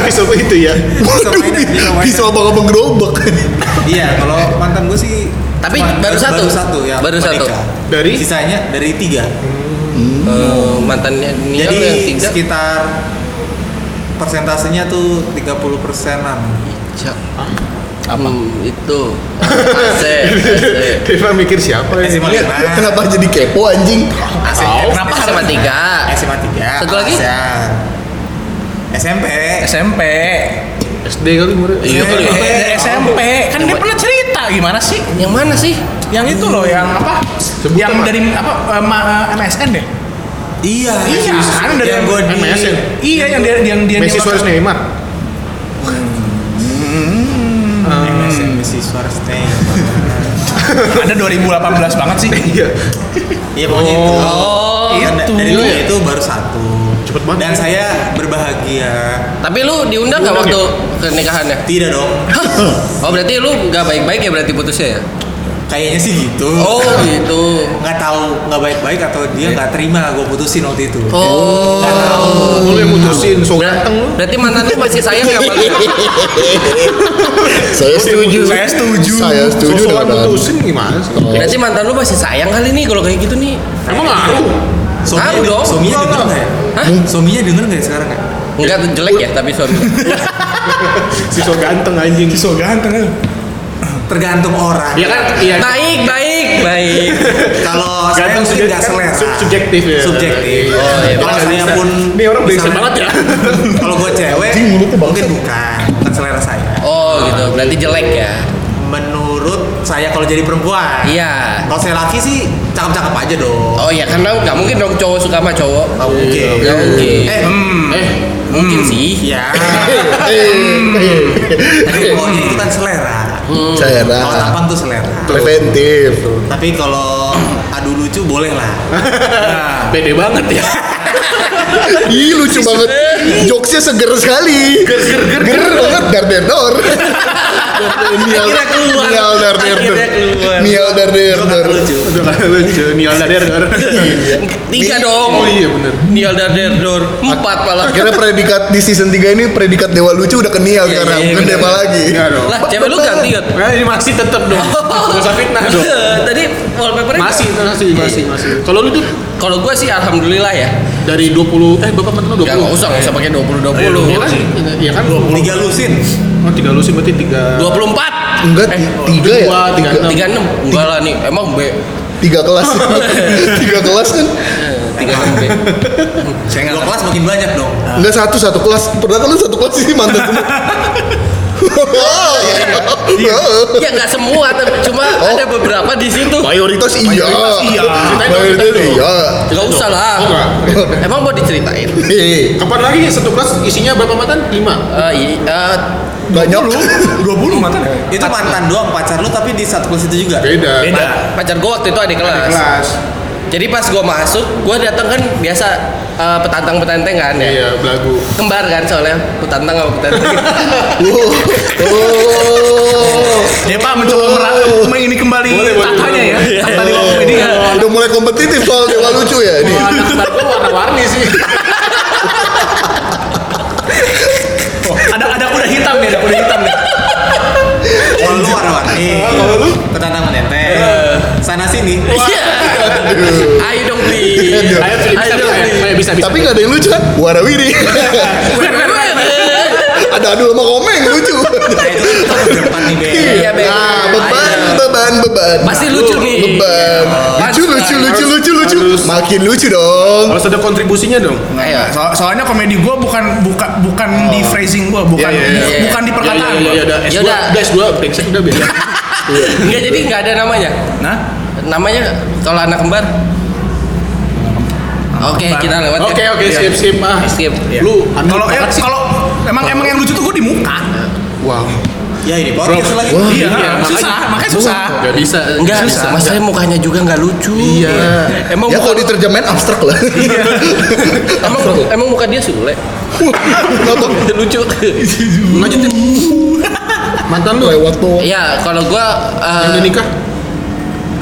B: Pisau itu ya.
D: Waduh,
C: mainan, pisau mainan.
D: pisau abang-abang gerobak.
C: Iya, kalau mantan gue sih
A: Tapi
C: cuma-
A: baru satu.
C: Baru satu ya.
A: Baru satu.
B: Dari?
C: sisanya dari tiga.
A: Eh, mantannya Niel
C: Jadi
A: yang Oh, tiga.
C: sekitar persentasenya tuh 30 persenan.
A: Apa? Hmm, itu. Asep. Asep.
B: Deva mikir siapa ya?
C: SMA lima,
D: Kenapa jadi kepo anjing?
A: Asep. Kenapa sama tiga?
C: SMA tiga.
A: Satu lagi?
C: ASEAN. SMP.
E: SMP.
B: SD kali murid.
A: Iya kali ya.
B: Eh,
E: SMP.
B: oh.
E: Kan dia pernah cerita gimana sih?
A: Yang mana sih?
E: Yang itu loh yang apa?
B: Sebut
E: yang
B: apa?
E: dari apa eh, ma- eh, MSN deh.
C: Iya.
E: Iya, kan dari
C: yang gue di
B: MSN.
E: Iya, yang dia yang dia
B: Messi
E: dia-
B: Suarez Neymar.
A: Hmm.
C: MSN Mrs. Suarez Day.
E: Ada 2018 banget sih.
B: Iya.
C: Iya pokoknya itu.
A: Oh.
C: Dan
E: itu.
C: Dari
B: Iya,
C: tiga
B: ya?
C: itu baru satu.
B: Cepet banget.
C: Dan saya berbahagia.
A: Tapi lu diundang ya? nggak waktu
B: Diundang
A: ke nikahannya?
C: Tidak dong.
A: Oh berarti lu nggak baik-baik ya berarti putusnya ya?
C: Kayaknya sih gitu.
A: Oh gitu.
C: nggak tahu nggak baik-baik atau dia nggak terima gue putusin waktu itu.
A: Oh.
C: Nggak tahu.
B: Lu yang mutusin so ganteng lu.
A: Berarti mantan lu masih sayang ya, nggak sama lu?
D: Saya setuju.
E: Saya setuju.
D: Saya setuju
B: Sosokan
D: dengan Anda.
B: mutusin gimana sih?
A: Berarti mantan lu masih sayang kali nih kalau kayak gitu nih.
B: Emang ngaruh?
C: Suaminya,
A: Tahu dong.
C: suaminya
A: Enggak,
C: denger nggak ya?
A: Hah?
C: Suaminya denger nggak ya sekarang ya?
A: Enggak jelek ya tapi suami.
B: Si so ganteng anjing.
E: So ganteng lu.
C: Tergantung orang.
B: Iya kan? Iya.
A: Baik, baik, baik.
C: Kalau saya
B: Ganteng
C: mungkin
B: subjek-
C: nggak
B: kan
C: selera.
B: sub- subjektif ya.
C: Subjektif.
A: Oh, iya,
C: Kalau
B: benar.
C: saya pun
B: Ini orang brengsek
C: misalnya-
B: banget ya.
C: Kalau gue cewek,
D: Anjing, mulutnya bangsat.
C: mungkin bukan, bukan selera saya.
A: Oh gitu. Berarti jelek ya.
C: Menurut saya kalau jadi perempuan.
A: Iya.
C: Kalau saya laki sih cakep-cakep aja dong.
A: Oh iya karena nggak mungkin dong cowok suka sama cowok.
C: Nggak mungkin.
D: Ya,
A: Nggak mungkin.
C: Eh,
B: Eh,
A: Mungkin sih. ya.
C: iya.
D: Eh,
C: Tapi pokoknya
A: Iya.
C: itu kan selera.
A: Nah.
D: Selera.
C: Kalau tampang tuh selera.
D: Hmm. Preventif.
C: Tapi kalau adu lucu boleh lah. Nah,
B: pede banget ya.
D: Ih lucu banget. Jokesnya seger sekali. Ger ger ger. banget dar der dor. Nial
A: Akhirnya keluar.
D: Nial dar der dor.
A: Akhirnya keluar.
D: Nial dar der dor.
B: Udah nggak lucu. Nial Dader.
D: Iya
A: Tiga dong.
B: Oh iya bener.
A: Nial Darderdor. Empat malah.
D: Akhirnya predikat di season 3 ini predikat dewa lucu udah ke Nial
A: Iya,
D: sekarang.
A: iya, Oh. iya,
D: Bukan
A: bener.
D: dewa lagi.
B: Enggak dong.
A: Lah cewek lu ganti ya.
B: Nah, ini masih tetap dong. Gak usah fitnah dong.
A: Iya. Tadi wallpapernya
B: Masih, masih, masih, masih. Kalau lu tuh
A: Kalau gue sih alhamdulillah ya.
B: dari 20 eh bapak mantan lu
A: Gak
B: 20.
A: usah, nggak usah pakai 20
B: Iya, Iya
A: 20.
B: kan? Iya kan?
C: Tiga lusin.
B: Oh, tiga lu sih berarti tiga.
A: 24.
D: Enggak tiga ya.
B: Dua, tiga, enam.
A: 36. Enggak lah nih, emang B
D: Tiga kelas. Tiga kelas kan.
A: tiga enam SMP.
E: Saya nggak
C: Dua
E: ngerti.
C: kelas makin banyak dong.
D: Enggak satu satu kelas. Pernah kan lu satu kelas sih mantan semua.
A: ya nggak semua, tapi cuma
B: Oh.
A: ada beberapa di situ.
D: Mayoritas iya.
E: Mayoritas iya.
D: Mayoritas iya.
A: Gak usah lah.
B: Oh, nggak?
A: Emang mau diceritain?
D: Hehehe.
B: Kapan lagi satu kelas isinya berapa mantan? Lima.
A: Eh, i- eh,
D: Banyak.
E: 20 mantan ya?
C: Itu mantan doang pacar lu tapi di satu kelas itu juga.
B: Beda.
E: Beda.
A: pacar gue waktu itu adik kelas.
B: Kelas.
A: Jadi pas gue masuk, gue datang kan biasa eh, petantang-petanteng kan ya.
B: Iya, belagu.
A: Kembar kan soalnya petantang sama petanteng.
D: Oh. Oh.
E: Dia Pak mencoba merangkap ini kembali
B: Boleh, boleh,
E: tahtanya ya.
B: boleh. Iya,
E: Tahta di waktu ini ya.
D: Udah mulai kompetitif soal dewa lucu ya ini.
B: Wah, anak kembar gua warna-warni sih.
E: Ada ada kuda hitam nih, ada kuda hitam nih.
C: Kalau lu warna-warni. Iya. Kalau lu ketantang menenteng. Sana sini.
A: Iya. Ayo dong beli.
D: Aduh.
B: Ayo, Fili, bisa,
A: Ayo dong
B: bisa,
A: beli.
B: Ayo, bisa, bisa.
D: Tapi nggak ada yang lucu kan? Warawiri. ada adu sama komeng lucu.
C: Nah itu kan kita harus depan nih Bel.
A: Iya, Bel.
D: Nah, beban,
A: Ayo.
D: beban, beban.
A: Pasti lucu nih.
D: Beban. Lucu, lucu, lucu, lucu, lucu.
B: Harus.
D: Makin lucu dong.
B: Harus ada kontribusinya dong.
A: Ayo.
E: Iya, So- soalnya komedi gue bukan bukan bukan di phrasing gue, bukan
B: Oh. Iya, iya,
A: iya.
E: bukan di perkataan
B: Ya,
E: gue.
B: ya, ya, udah. S2,
A: Yaudah.
B: guys, gua brengsek udah beda.
A: Enggak jadi enggak ada namanya.
B: iya.
E: Nah,
A: Namanya kalau anak kembar. Oke, kita lewat. ya.
B: Oke, oke, sip, sip. Ah,
A: Skip.
B: lu aneh
E: kalau ya,
B: banget sih.
E: kalau emang emang yang lucu tuh gue di muka.
B: Wow.
C: Ya ini podcast lagi.
E: Iya,
B: iya,
E: susah, makanya susah.
B: Gak bisa.
A: Enggak,
B: Susah.
A: masalahnya mukanya juga enggak lucu. Iya. Emang
D: Ya
A: muka,
D: kalau diterjemahin abstrak lah.
A: Iya. emang, emang muka dia sule.
D: Kenapa?
A: lucu.
B: Lanjutin. Mantan lu ya?
D: Lewat tuh.
A: Iya, kalau gua eh,
B: yang udah nikah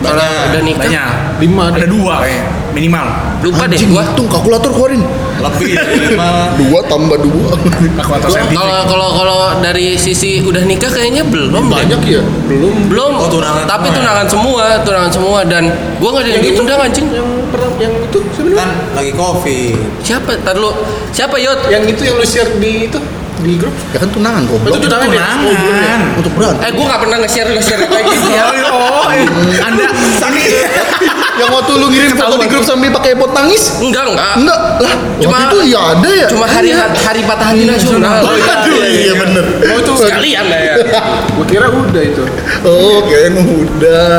A: kalau udah nikah
E: Banyak.
B: lima
E: Ada dua kayaknya, minimal.
A: lupa deh
D: Anjing,
A: gua.
D: hitung kalkulator keluarin.
C: Lebih dari lima.
D: Dua tambah dua.
E: Kekuatan
A: Kalau
E: saintifik.
A: kalau kalau dari sisi udah nikah kayaknya belum deh.
B: banyak ya belum
A: belum
C: Oh, tunangan
A: tapi
C: semua ya?
A: tunangan semua tunangan semua dan gua nggak ada yang diundang anjing
B: yang pernah yang itu sebenarnya
C: Kan lagi covid.
A: siapa tar lu siapa yot
B: yang itu yang lu share di itu di grup
D: Ya kan tunangan kok.
B: itu tunangan ya? Oh, belum ya?
E: Tunangan.
D: Untuk berat.
A: eh gua nggak pernah nge-share nge-share kayak gitu ya
E: Oh, Anda ini
D: Yang Ya, waktu
A: Iya,
D: lu ngirim foto di grup sambil pakai pot tangis?
A: enggak enggak
D: Enggak lah.
A: Cuma-
D: waktu itu ya ada ya.
A: cuma hari
D: Iya.
A: hari patah hati nasional
D: Oh, aduh, iya bener.
B: oh itu
A: sekalian lah ya
B: Oh, gua kira udah itu
D: Oh, kayaknya emang udah.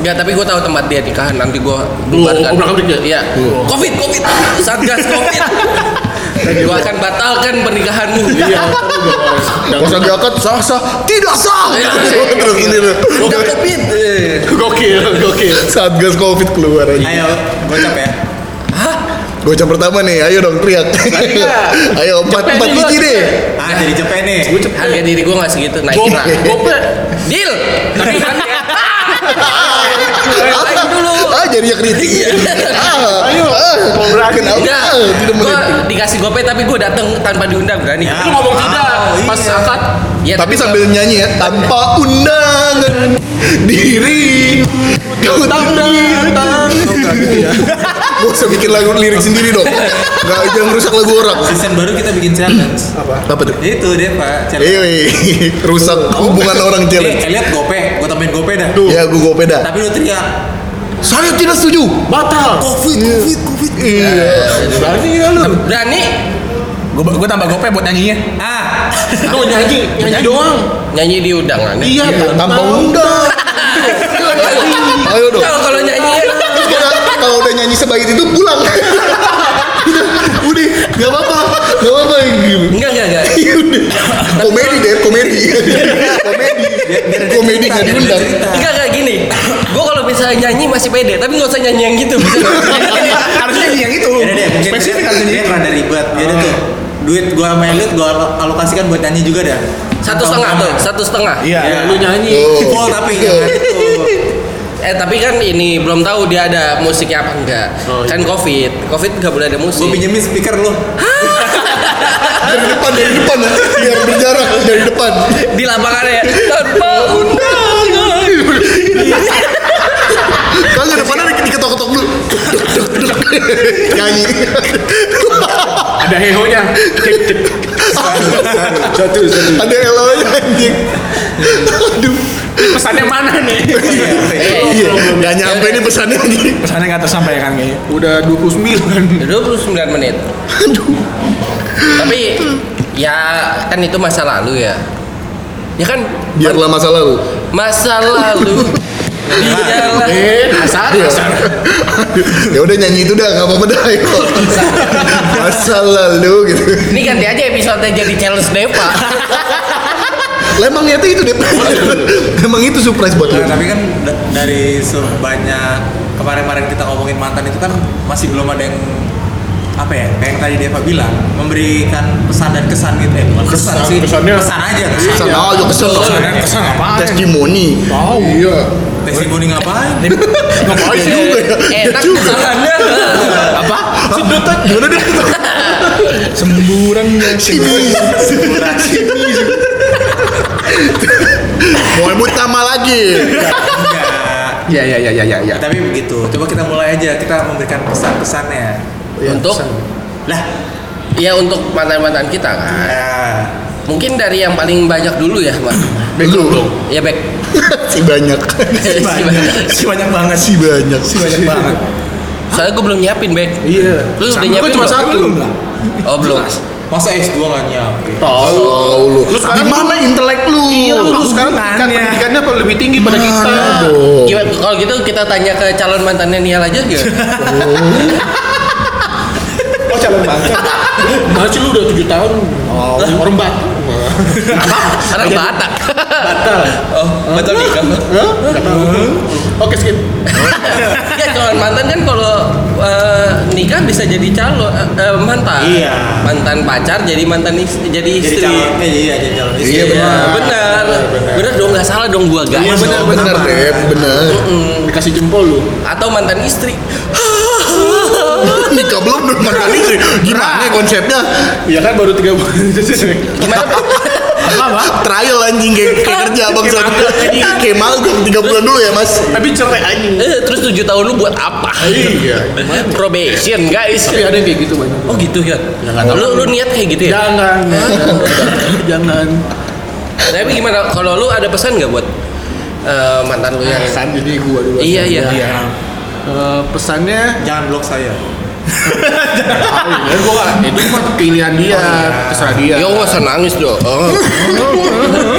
A: enggak tapi gua tahu tempat dia nikahan nanti gua
B: Lu
A: bubarkan
B: obrak-abrik ya?
A: iya covid covid satgas covid gua akan batalkan pernikahanmu
B: iya ntar lu udah bahas.
D: Masa diangkat sah sah, tidak sah. Terus ini loh.
A: Udah covid Eh.
B: gokil gokil
D: Satgas Covid keluar aja.
C: Ayo gocap ya.
D: Gocap pertama nih, ayo dong teriak. ayo empat empat biji deh.
C: Ah jadi cepet nih.
A: harga diri gua nggak segitu naik
B: Gua-
A: lah
B: gua-
A: deal tapi kan ya. Naik lagi dulu
D: Ah jadinya kritik. Ah,
B: Ayo,
D: ah,
B: mau berani.
D: Kenapa?
A: Enggak,
D: Ah, Tidak
A: gue
D: mengerti.
A: dikasih gope tapi gue dateng tanpa diundang berani.
C: Ya.
A: Lu ngomong tidak
C: Oh,
A: pas
C: iya.
A: akad. Ya,
D: Tapi sambil nyanyi ya, tanpa undangan diri. Kau tangan. Gak usah bikin lagu lirik sendiri dong. Gak jangan rusak lagu orang.
C: Season baru kita bikin
E: Hmm.
C: challenge.
D: Apa tuh?
C: Itu dia pak. Challenge.
D: Iya, rusak hubungan orang
C: Eh,
D: challenge.
C: lihat gope, gue tambahin gope dah.
D: Ya, gue gopeda.
C: Iya. Tapi lu teriak.
D: Saya tidak setuju.
B: batal
D: Covid, covid, covid. Iya.
B: berani ya lu
A: berani
E: gue gue tambah gope buat nyanyinya.
C: Ah,
B: lu nyanyi nyanyi doang
A: nyanyi di undangan. ya?
B: iya
D: Tanpa undang.
C: Iya.
D: Ayo dong.
A: Kalau kalau nyanyi
D: Terus kita- Kalau udah nyanyi sebaik itu pulang. Udah, udah, nggak apa-apa, nggak apa-apa. gitu.
A: enggak enggak enggak.
D: Iya, udah. Komedi deh, komedi. Komedi. Komedi nggak diundang.
A: Enggak enggak gini. Gue kalau bisa nyanyi masih pede, tapi nggak usah nyanyi yang gitu. Bisa.
E: Harusnya nyanyi yang itu.
C: Yaudah deh, mungkin
E: Spesifik
C: dia-
E: harusnya
C: dia
E: nyanyi.
C: rada ribet. Jadi tuh duit gua sama Elliot gua alo- alokasikan buat nyanyi juga dah.
A: Satu setengah tuh, satu setengah.
E: Iya.
B: ya lu nyanyi
D: Oh.
C: Full tapi jangan itu.
A: Eh tapi kan ini belum tahu dia ada musiknya apa enggak.
B: Oh, iya.
A: Kan covid, covid nggak boleh ada musik.
C: Gua pinjemin speaker lu.
D: Dari depan, dari depan. Biar berjarak dari depan.
A: di lapangan ya tanpa undangan.
D: Kagak depannya di- diketok-ketok dulu. Nyanyi.
B: ada hehonya
D: Ada elo anjing. Aduh.
E: Pas
B: pesannya mana nih?
D: Iya, nggak nyampe nih pesannya nih.
E: Pesannya nggak tersampaikan kayaknya.
B: Udah 29
A: 29 menit. Tapi ya kan itu masa lalu ya. Ya kan
D: Biarlah masa lalu.
A: masa lalu.
D: Iya.
A: Iya. Nah, Biarlah.
D: Eh.
B: Dasar
D: Ya udah nyanyi itu dah, nggak apa-apa dah. ya. Masa lalu gitu.
A: Ini ganti aja episode jadi challenge Deva.
D: Lah emang niatnya itu deh. emang itu surprise buat lu.
C: Nah, tapi kan da- dari sebanyak kemarin-kemarin kita ngomongin mantan itu kan masih belum ada yang apa ya kayak yang tadi Deva bilang memberikan pesan dan kesan gitu ya bukan kesan,
B: Kesan,
C: sih
B: kesannya.
C: pesan aja kesan
D: Kesan aja kesan
E: Pesannya kesan apaan?
D: Testimoni.
E: Wow.
D: Iya.
C: testimoni ngapain
D: Ngapain juga ya? Ya
A: Enak
D: juga.
A: kesannya.
D: Apa? Sedot gimana deh?
E: Semburan ya.
D: Sini. Mau mutama lagi.
C: enggak
B: Ya ya ya ya ya ya.
C: tapi begitu coba kita mulai aja kita memberikan pesan-pesannya
D: Iya,
A: Untuk
C: lah
A: ya untuk mantan-mantan kita kan.
C: eh,
A: Mungkin dari yang paling banyak dulu ya, Pak.
D: Lu.
A: Ya back.
D: Si banyak.
A: Si banyak.
E: Si banyak banget
D: Si banyak.
E: Si banyak banget.
A: Soalnya gue belum nyiapin, Bek.
B: Iya.
A: Lu udah
B: Sama
A: nyiapin
B: gua cuma
A: belum?
B: satu.
A: Oh, belum.
C: masa S2 nggak nyampe
D: Tahu lu.
B: Lu
D: Di
B: sekarang-
D: mana intelek lu?
B: Iya, lu sekarang tingkat
E: Hubungannya.
B: pendidikannya apa lebih tinggi pada kita?
D: Mana dong?
A: Gimana- Kalau gitu kita tanya ke calon mantannya Nial aja gitu.
B: Oh calon bangsa. Masih lu udah 7 tahun. Oh, orang batu.
A: Karena Batak.
C: oh betul nikah
B: Hah? Nggak tahu. Oke skip.
A: Ya calon mantan kan kalau eh, nikah bisa jadi calon eh, eh, mantan.
C: Iya.
A: Mantan pacar jadi mantan istri, jadi
C: jadi
A: istri.
C: calon eh, iya jadi calon istri
D: Iya,
A: Iya,
D: benar.
A: benar. Benar dong nggak salah dong gua guys.
D: Iya benar
C: dong,
D: benar
C: kenapa?
D: deh, benar.
B: Dikasih jempol lu.
A: Atau mantan istri.
D: Nikah belum belum makan istri. Gimana konsepnya?
B: Iya kan baru 3 bulan.
A: Gimana? Pak?
D: Trial anjing kayak, kayak kerja abang sana. Kayak magang 3 bulan dulu ya, Mas.
B: Tapi cerai anjing.
A: Eh, terus 7 tahun lu buat apa?
B: Iya.
A: Probation, guys.
B: Tapi ada yang kayak gitu banyak.
A: iya. Oh gitu ya. Lu lu niat kayak gitu ya?
B: Jangan. Jangan.
A: Tapi gimana kalau lu ada pesan nggak buat eh, mantan lu yang
B: Pesan jadi gua dulu.
A: Iya iya. iya.
B: Eh, pesannya
C: jangan blok saya
B: Ya Oh, iya. gue gak, itu mah pilihan dia, terserah dia.
A: Yo nggak usah nangis dong. Oh.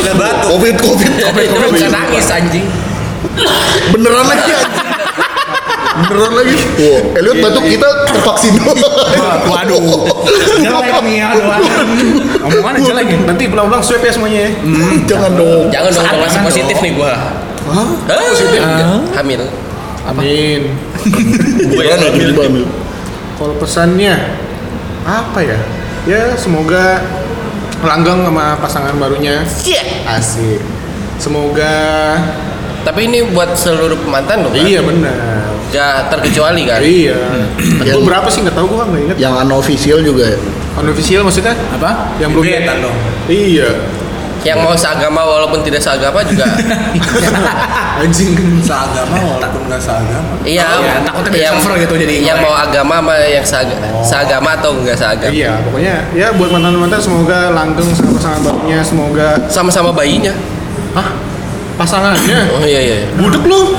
C: udah batuk
D: Covid, Covid.
A: Lu nggak nangis anjing.
D: Beneran lagi. anjing. Beneran lagi. Wah, Elliot batuk kita tervaksin
E: Waduh. Jelek nih
D: Iya, ya.
E: aduh. Omongannya jelek ya.
B: Nanti pulang-pulang swab ya semuanya ya.
D: Hmm. Jangan dong.
A: Jangan dong kalau masih positif nih gua. Hah? Positif. iya. Hamil.
B: Amin.
C: ya,
D: Gimana nih, gimana?
B: Kalau pesannya apa ya? Ya semoga langgang sama pasangan barunya.
A: Iya.
B: Asik. Semoga
A: Tapi ini buat seluruh mantan loh. Kan?
B: iya benar.
A: Gak terkecuali kan.
B: Iya.
D: Yang-
B: Gue berapa sih nggak tahu gue nggak inget.
D: Yang unofficial juga ya.
B: Unofficial maksudnya?
E: Apa?
B: Yang belum
C: Gebetan dong
B: Iya.
A: Yang mau seagama walaupun tidak seagama juga.
B: Anjing.
C: seagama walaupun nggak seagama
A: Iya.
E: Iya, takutnya dia cover gitu jadi
A: Yang
E: ngoreng.
A: mau agama sama yang seaga- seagama atau enggak seagama.
B: Iya, pokoknya ya buat mantan-mantan semoga langgeng sama pasangan barunya, semoga
A: Sama-sama bayinya.
B: Hah? Pasangannya?
A: Oh iya iya.
B: Budek lu.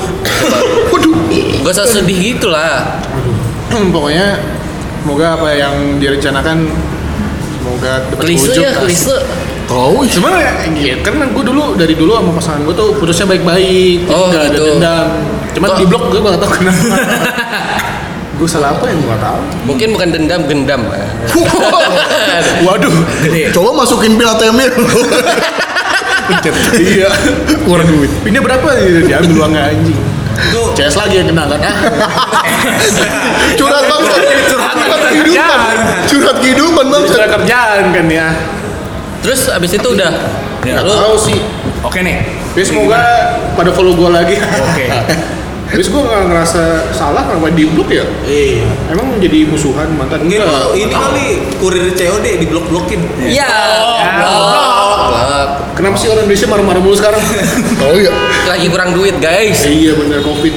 B: Waduh.
A: Gak usah sedih gitu lah.
B: Hmm, Pokoknya semoga apa yang direncanakan semoga dapat
A: Klise
B: wujud
A: ya,
B: lah.
A: klise.
D: Tahu ih.
B: Sebenarnya ya, karena gue dulu dari dulu sama pasangan gue tuh putusnya baik-baik,
A: Oh,
B: nggak ada
A: gitu.
B: dendam. Cuman
A: Kok-
B: di blok gue gak tau kenapa. gue salah apa yang gue gak tau?
A: Mungkin bukan dendam, gendam.
D: ya.
B: Waduh.
D: Coba masukin pil ATM-nya.
B: iya. Keluar duit. Ini berapa? Diambil uangnya anjing.
C: itu
B: CS lagi yang kena kan?
D: Curhat bang.
B: Curhat.
D: Curhat kehidupan. Curhat kehidupan bang.
B: Cara kerjaan kan ya.
A: Terus abis itu udah.
E: Ya.
A: Lu
B: Tahu sih.
E: Oke nih.
B: Tapi semoga pada follow gue lagi.
E: Oke.
B: Terus gue gak ngerasa salah kenapa di blok ya?
C: iya
B: Emang jadi musuhan mantan?
C: mungkin
B: Enggak,
C: ini
B: enggak tahu.
C: kali kurir COD diblok-blokin
A: Iya. Blok.
B: Kenapa sih orang Indonesia marah-marah mulu sekarang?
D: Tahu ya.
A: Lagi kurang duit guys.
B: iya bener, covid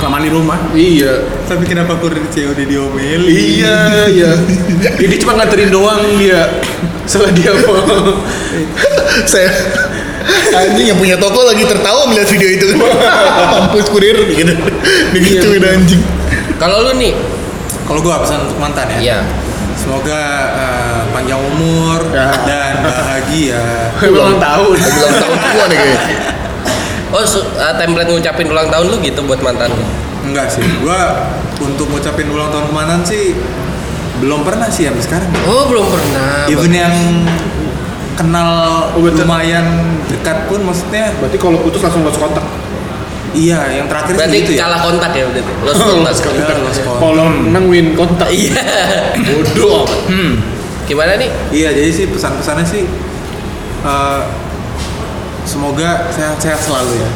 E: Kelamaan di rumah.
B: Iya
C: tapi kenapa kurir COD diomelin
B: Iya, iya Jadi
C: Iya.
B: cuma nganterin doang dia Setelah dia mau
D: Saya anjing yang punya toko lagi tertawa melihat video itu kan mampus kurir gitu digituin anjing
A: Kalau lu nih,
C: Kalau gua pesan untuk mantan ya.
A: ya
C: Semoga eh, panjang umur
D: Ya.
C: dan bahagia. Iya.
B: Belum tahu.
D: lagi ulang tahun gua nih kayaknya
A: Oh, su- uh, template ngucapin ulang tahun lu gitu buat mantan lu.
C: Enggak sih. Gua untuk ngucapin ulang tahun ke mantan sih belum pernah sih sampai sekarang.
A: Oh, belum pernah.
C: Even yang kenal
B: Oh, betul.
C: lumayan dekat pun maksudnya
B: Berarti kalau putus langsung lost kontak.
C: iya yang terakhir sih
A: Berarti
C: gitu ya.
A: kalah kontak ya udah. Lost kontak.
C: Ya, lost contact.
B: Kalau menang win kontak.
A: Iya. Hmm.
B: Bodoh.
A: Gimana nih?
C: Iya, jadi sih pesan-pesannya sih eh, semoga sehat-sehat selalu ya.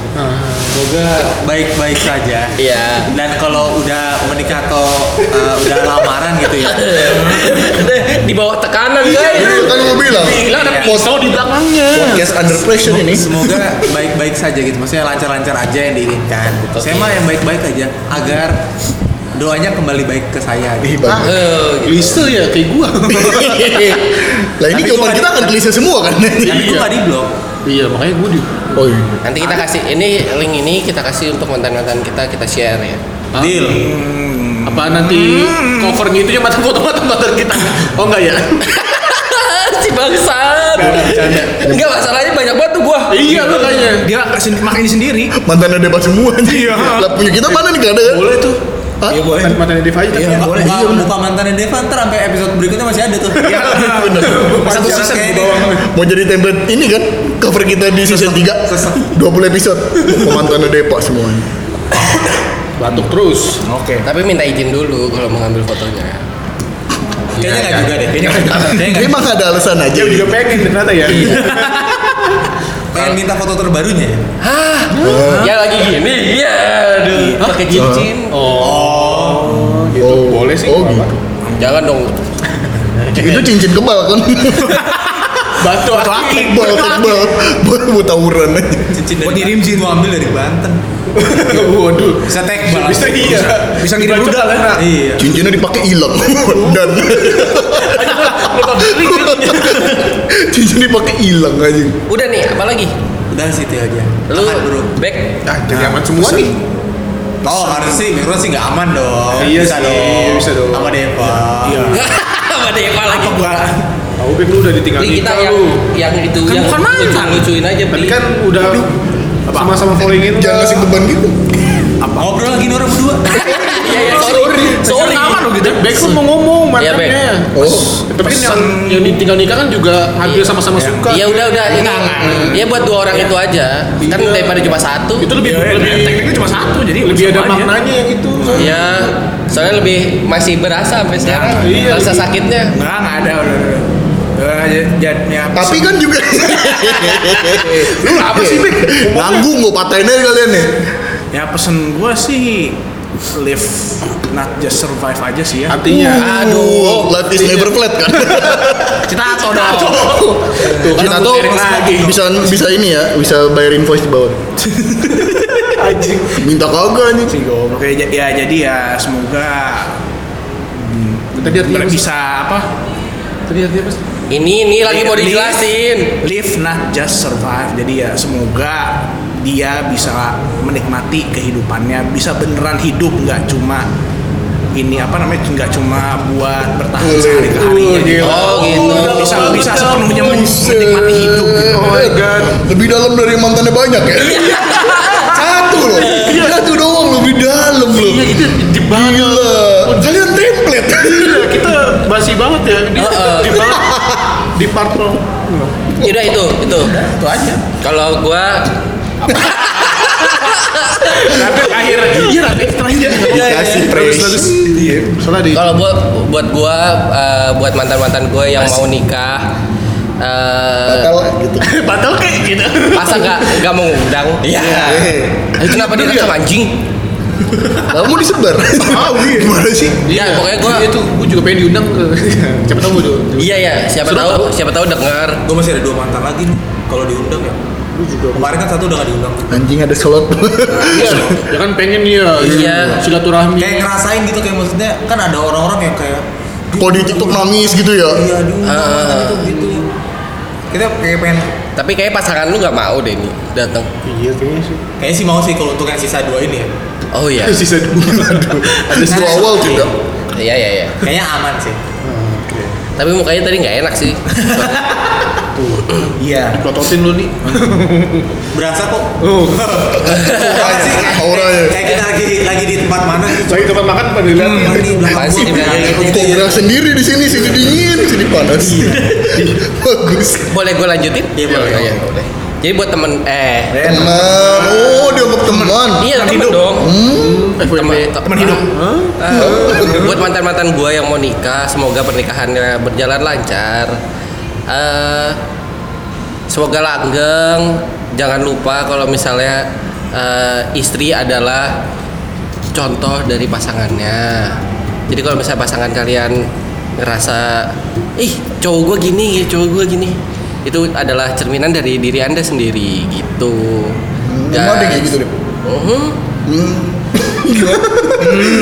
C: Semoga baik-baik saja.
A: Iya.
C: Dan kalau udah menikah atau eh, udah lamaran gitu ya,
A: Di bawah tekanan
D: Iya,
A: guys.
D: kan gua bilang
A: Gila ada pisau di belakangnya.
D: podcast under pressure ini
C: semoga baik-baik saja gitu. Maksudnya lancar-lancar aja yang diinginkan. Gitu. Saya mah yang baik-baik aja agar doanya kembali baik ke saya.
D: Ih,
C: Gitu.
D: bagus.
A: Oh,
B: Lise ya kayak gua.
A: gitu.
D: lah ini
C: Tapi
D: jawaban
C: gua-
D: kita akan gelisah semua kan
C: Tapi gue nggak di blok.
B: iya makanya gua di.
D: oh iya.
A: Nanti kita kasih ini link ini kita kasih untuk mantan-mantan kita kita share ya.
C: Deal.
B: Apa nanti cover gitu ya mata foto-foto mantan kita? Oh enggak ya?
A: si bangsat. Enggak masalahnya banyak banget tuh gua.
B: iya makanya.
E: Dia kasih makin sendiri.
D: mantan ada debat semua anjing lah punya kita mana nih gak ada kan
B: Boleh tuh.
D: Hah?
C: Iya boleh.
B: Mantan mantannya Deva aja.
C: Iya,
B: tapi-
C: boleh. Buka, buka mantannya Devan, ntar sampai episode berikutnya masih ada tuh. Iya,
D: bener.
C: Satu
B: Panjang
C: season
B: kayak
C: di
B: bawah.
C: bawah.
D: mau jadi template ini kan cover kita di season 3
C: sesek.
D: 20 episode pemantannya depa semuanya
B: Batuk terus.
E: Oke.
A: Tapi minta izin dulu kalau mau ngambil fotonya.
C: Kayaknya nggak juga deh.
B: Iya.
D: dia emang gak ada alasan aja
B: Dia juga pengen ternyata ya.
C: Pengen minta foto terbarunya ya?
A: Hah? Ya lagi gini. Iya, aduh. Pakai cincin.
B: iya.
D: oh,
B: Boleh sih,
D: oh,
B: nggak
D: gitu.
A: Jangan dong.
B: Iya.
D: itu cincin kebal kan
B: Batu laki.
D: kebal kebal buat buat tawuran aja
C: Cincin dari Banten. Gua ambil dari Banten.
B: Waduh.
C: Bisa tekbal.
B: Bisa iya.
E: Bisa ngirim rudal kan?
C: Iya.
D: cincinnya dipakai hilang dan cincin dipakai hilang aja
A: Udah nih, apa lagi?
C: Udah sih itu aja.
A: Lu
C: Aman, bro.
A: back
B: Nah, jadi aman semua nih.
C: Oh, harus sih. Mikro sih nggak aman dong.
B: Iya
C: bisa
B: sih,
C: dong.
B: bisa dong.
C: Sama Deva.
E: Iya.
A: sama Deva lagi.
B: Tahu Bek, lu udah ditinggal
A: Beli kita
B: nikah
A: yang
B: lu.
A: yang itu
E: Kan
A: yang
E: bukan mantan.
A: lucu-lucuin aja
B: Tadi
A: beli.
B: gitu? kan udah sama-sama followingin
D: jangan ngasih beban gitu
C: Apa? Ngobrol lagi Nora berdua.
A: Iya, iya, sorry. Sorry.
B: Aman lu gitu. Bek lu mau ngomong
A: Iya, Bek.
B: mantannya.
D: oh
B: Tapi kan yang yang ditinggal nikah kan juga hampir sama-sama suka.
A: Ya udah udah ini. Ya buat dua orang itu aja. Kan
B: Iya.
A: daripada cuma satu.
B: Itu lebih lebih
E: Tekniknya cuma satu jadi
B: lebih ada
E: sama aja.
B: maknanya yang itu.
A: Ya, soalnya lebih masih berasa sampai sekarang.
B: Iya,
A: Rasa
B: lebih-
A: sakitnya.
C: Nah,
E: Enggak, enggak ada udah. udah. Eh, jad- jadnya
D: tapi kan juga
B: Lu apa sih, Bek?
D: nanggung gue patahin aja kalian nih
E: Ya pesen gua sih live not just survive aja sih ya.
B: Artinya
D: Hmm. aduh Iya. Oh, life is never flat kan
A: Kita atau dong.
D: Tuh, kita tuh bisa bisa ini ya, bisa bayar invoice di bawah. Minta kagak anjing.
E: Oke ja- ya jadi ya semoga
B: tadi artinya apa sih?
E: bisa apa
B: Tadi artinya apa sih?
A: Ini ini lagi
B: Iya,
A: mau
E: Live-
A: dijelasin.
E: live not just survive jadi ya semoga dia bisa menikmati kehidupannya bisa beneran hidup nggak cuma ini apa namanya nggak cuma buat bertahan sehari ke harinya
D: Oh,
E: gitu.
A: Oh, gitu.
E: bisa bisa
D: Buset.
E: sepenuhnya men- menikmati hidup gitu. Iya.
D: Oh my god. Lebih dalam dari yang mantannya banyak ya. Satu loh. Satu doang lebih dalam loh. Iya itu deep Kalian template.
B: Iya, kita basi banget ya. Di,
A: Heeh.
B: di part di part lo.
A: Yaudah itu, itu.
E: itu aja
A: Kalau gua
E: tapi akhir iya tapi terakhir
D: Dikasih
E: bagus
D: praise.
E: bagus
B: Soalnya di
A: kalau buat buat gua eh, buat mantan-mantan gua yang mau nikah eh
D: Kalau gitu.
B: batal kayak gitu.
A: masa nggak nggak mengundang iya kenapa dia rekam anjing
D: Kamu disebar. Ah, gimana sih?
A: ya pokoknya gua
B: Iya, itu gua juga pengen diundang ke siapa tahu gua tuh.
A: iya ya siapa
B: Sudah
A: tahu siapa tahu dengar
C: Gue masih ada dua mantan lagi nih. Kalau diundang ya. Kemarin kan satu udah gak diundang.
D: Anjing ada slot.
B: Iya, ya kan pengen ya.
A: Iya.
B: Silaturahmi.
C: Kayak ngerasain gitu kayak maksudnya kan ada orang-orang yang kayak
D: Kok di TikTok nangis gitu ya?
C: iya diundang
A: Ah.
C: mantan itu gitu. kita kayak pengen
A: Tapi kayak pasangan lu nggak mau deh nih datang.
B: Iya kayaknya sih.
C: kayaknya sih mau sih kalau untuk yang sisa dua ini ya
A: Oh iya.
D: Sisa dua, aduh. Ada satu awal tidak.
A: Iya iya iya.
C: kayaknya aman sih
A: Tapi mukanya tadi nggak enak sih.
E: Iya.
B: Plototin lu nih.
C: berasa kok
B: Oh.
C: Apaan sih kayak,
D: Auranya.
C: kayak kita lagi lagi di tempat mana gitu
B: Lagi tempat makan pada dilihat.
C: Ini di belakang
D: Iya,
A: Apaan sih
C: gua,
A: di belakang
C: kayak
A: gua?
C: gitu
D: Kok
C: ya.
D: gerak sendiri di sini, sini dingin, sini panas. Bagus.
A: Boleh gue lanjutin?
C: Iya, boleh.
A: Oh, boleh. Jadi buat temen eh
D: Teman, oh dia mau teman.
A: iya temen dong. Eh, Temen,
E: Teman hidup.
A: Ah, buat mantan-mantan gua yang mau nikah, semoga pernikahannya berjalan lancar. Eh, semoga langgeng. Jangan lupa kalau misalnya eh, istri adalah contoh dari pasangannya. Jadi kalau misalnya pasangan kalian ngerasa ih cowok gua gini, cowok gua gini, itu adalah cerminan dari diri anda sendiri gitu.
D: Emang ada kayak gitu deh.
A: Mhm.
D: Hmm. Gimana?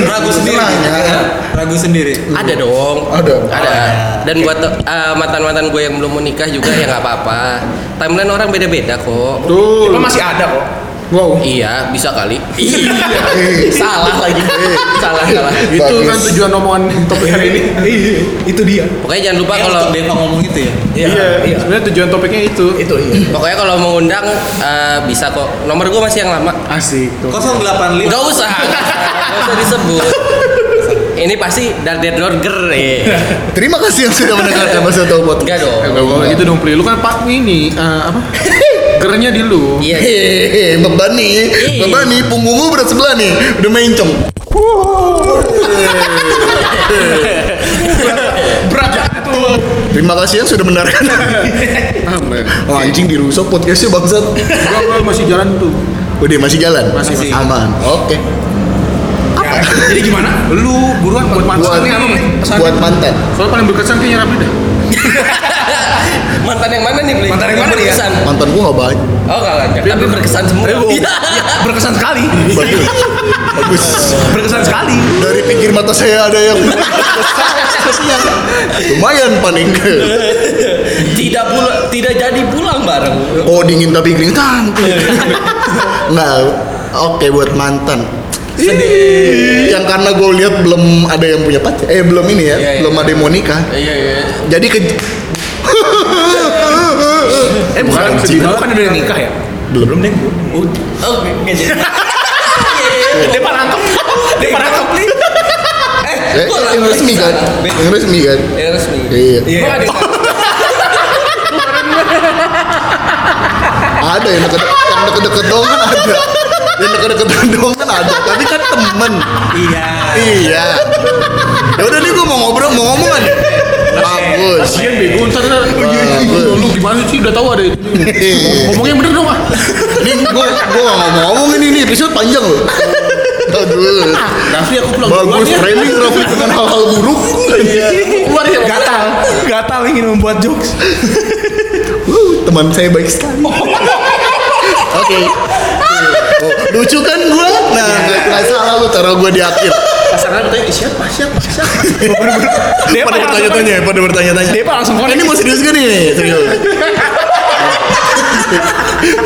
C: ragu sendiri
D: Tenang, ya.
C: ragu sendiri
A: Ada dong.
D: Ada.
A: Ada. Dan buat eh, mantan-mantan gue yang belum mau nikah juga ya nggak apa-apa. Timeline orang beda-beda kok.
B: Tuh.
E: Emang masih ada kok.
B: Wow.
A: Iya, bisa kali. salah lagi. salah, salah.
B: Itu
D: Bagus.
B: kan tujuan omongan topik hari ini. Iya.
E: Itu dia.
A: Pokoknya jangan lupa
C: Kayak
A: kalau
C: untuk Deva ngomong itu ya
B: Iya. Sebenarnya tujuan topiknya itu.
E: Itu iya.
A: pokoknya kalau mengundang eh, bisa kok. Nomor gue masih yang lama.
E: Asik.
C: 085
A: Gak usah. Gak usah disebut. Ini pasti dari Dead Lorger eh.
D: Terima kasih yang sudah mendengarkan masa tahu podcast.
A: Enggak dong.
B: Eh, Gak boleh gitu dong, Pli. Lu kan pak ini eh, apa? Gernya di lu.
A: Iya.
D: Hehehe, beban nih, beban nih, punggungmu berat sebelah nih, udah mencong.
B: Berat ya itu.
D: Terima kasih yang sudah mendengarkan.
B: Aman.
D: Oh, anjing dirusak podcastnya bangsat.
B: Gua gua masih jalan tuh.
D: Udah masih jalan,
C: Masih.
D: aman. Oke.
E: Jadi gimana? Lu buruan buat
D: Buat,
E: mantannya apa nih? Pesan.
D: buat mantan.
B: Soalnya paling berkesan kayaknya Rapli dah.
A: Mantan yang mana nih, Beli?
E: Mantan yang mana nih, ya?
A: Berkesan.
D: Mantan gua nggak baik.
A: Oh, enggak enggak. Tapi berkesan semua.
E: Iya, berkesan sekali.
D: Bagus. Bagus.
E: Berkesan sekali.
D: Dari pinggir mata saya ada yang lumayan panik.
A: tidak pula- tidak jadi pulang bareng
D: Oh dingin tapi keringetan. Nggak. Oke buat mantan. Sedih. Yang karena gue lihat belum ada yang punya pacar. Eh belum ini ya,
A: Iya, iya.
D: belum ada yang mau nikah.
A: iya iya
D: Jadi ke
E: Eh
D: Bukan,
E: bukan sedih
D: bukan.
E: banget kan udah nikah ya?
D: belum belum deh.
E: Oh,
A: oh nggak jadi
E: dia parangkep. Dia parangkep nih.
D: Eh, yang resmi kan? Yang resmi kan?
A: ya resmi
D: Iya.
E: Iya.
D: Ada yang deket yang deket-deket doang kan ada. Yang deket-deket doang kan ada. Tapi kan temen.
C: iya
D: Iya. Ya udah nih gue mau ngobrol mau ngomong aja. Bagus.
B: Kasian bego ntar ntar. Lu gimana sih udah tahu ada itu. Ngomongnya bener dong ah.
D: Ini gue gue nggak ngomong ngomong ini nih episode panjang loh. Bagus.
B: Rafli aku pulang duluan
D: Bagus
B: ya.
D: framing Raffi bukan hal-hal buruk. Iya.
B: Keluar ya.
E: Gatal. Gatal ingin membuat jokes.
D: Uh, teman saya baik sekali. Oke. Oh, lucu kan gue? Nah, nggak salah lu taruh gue di akhir.
B: Pasangan bertanya "Ih, siapa siapa siapa.
E: Dia
D: Pada bertanya-tanya, pada bertanya-tanya.
E: Dia langsung
D: Oh, ini
E: konek.
D: mau serius gak nih? Serius.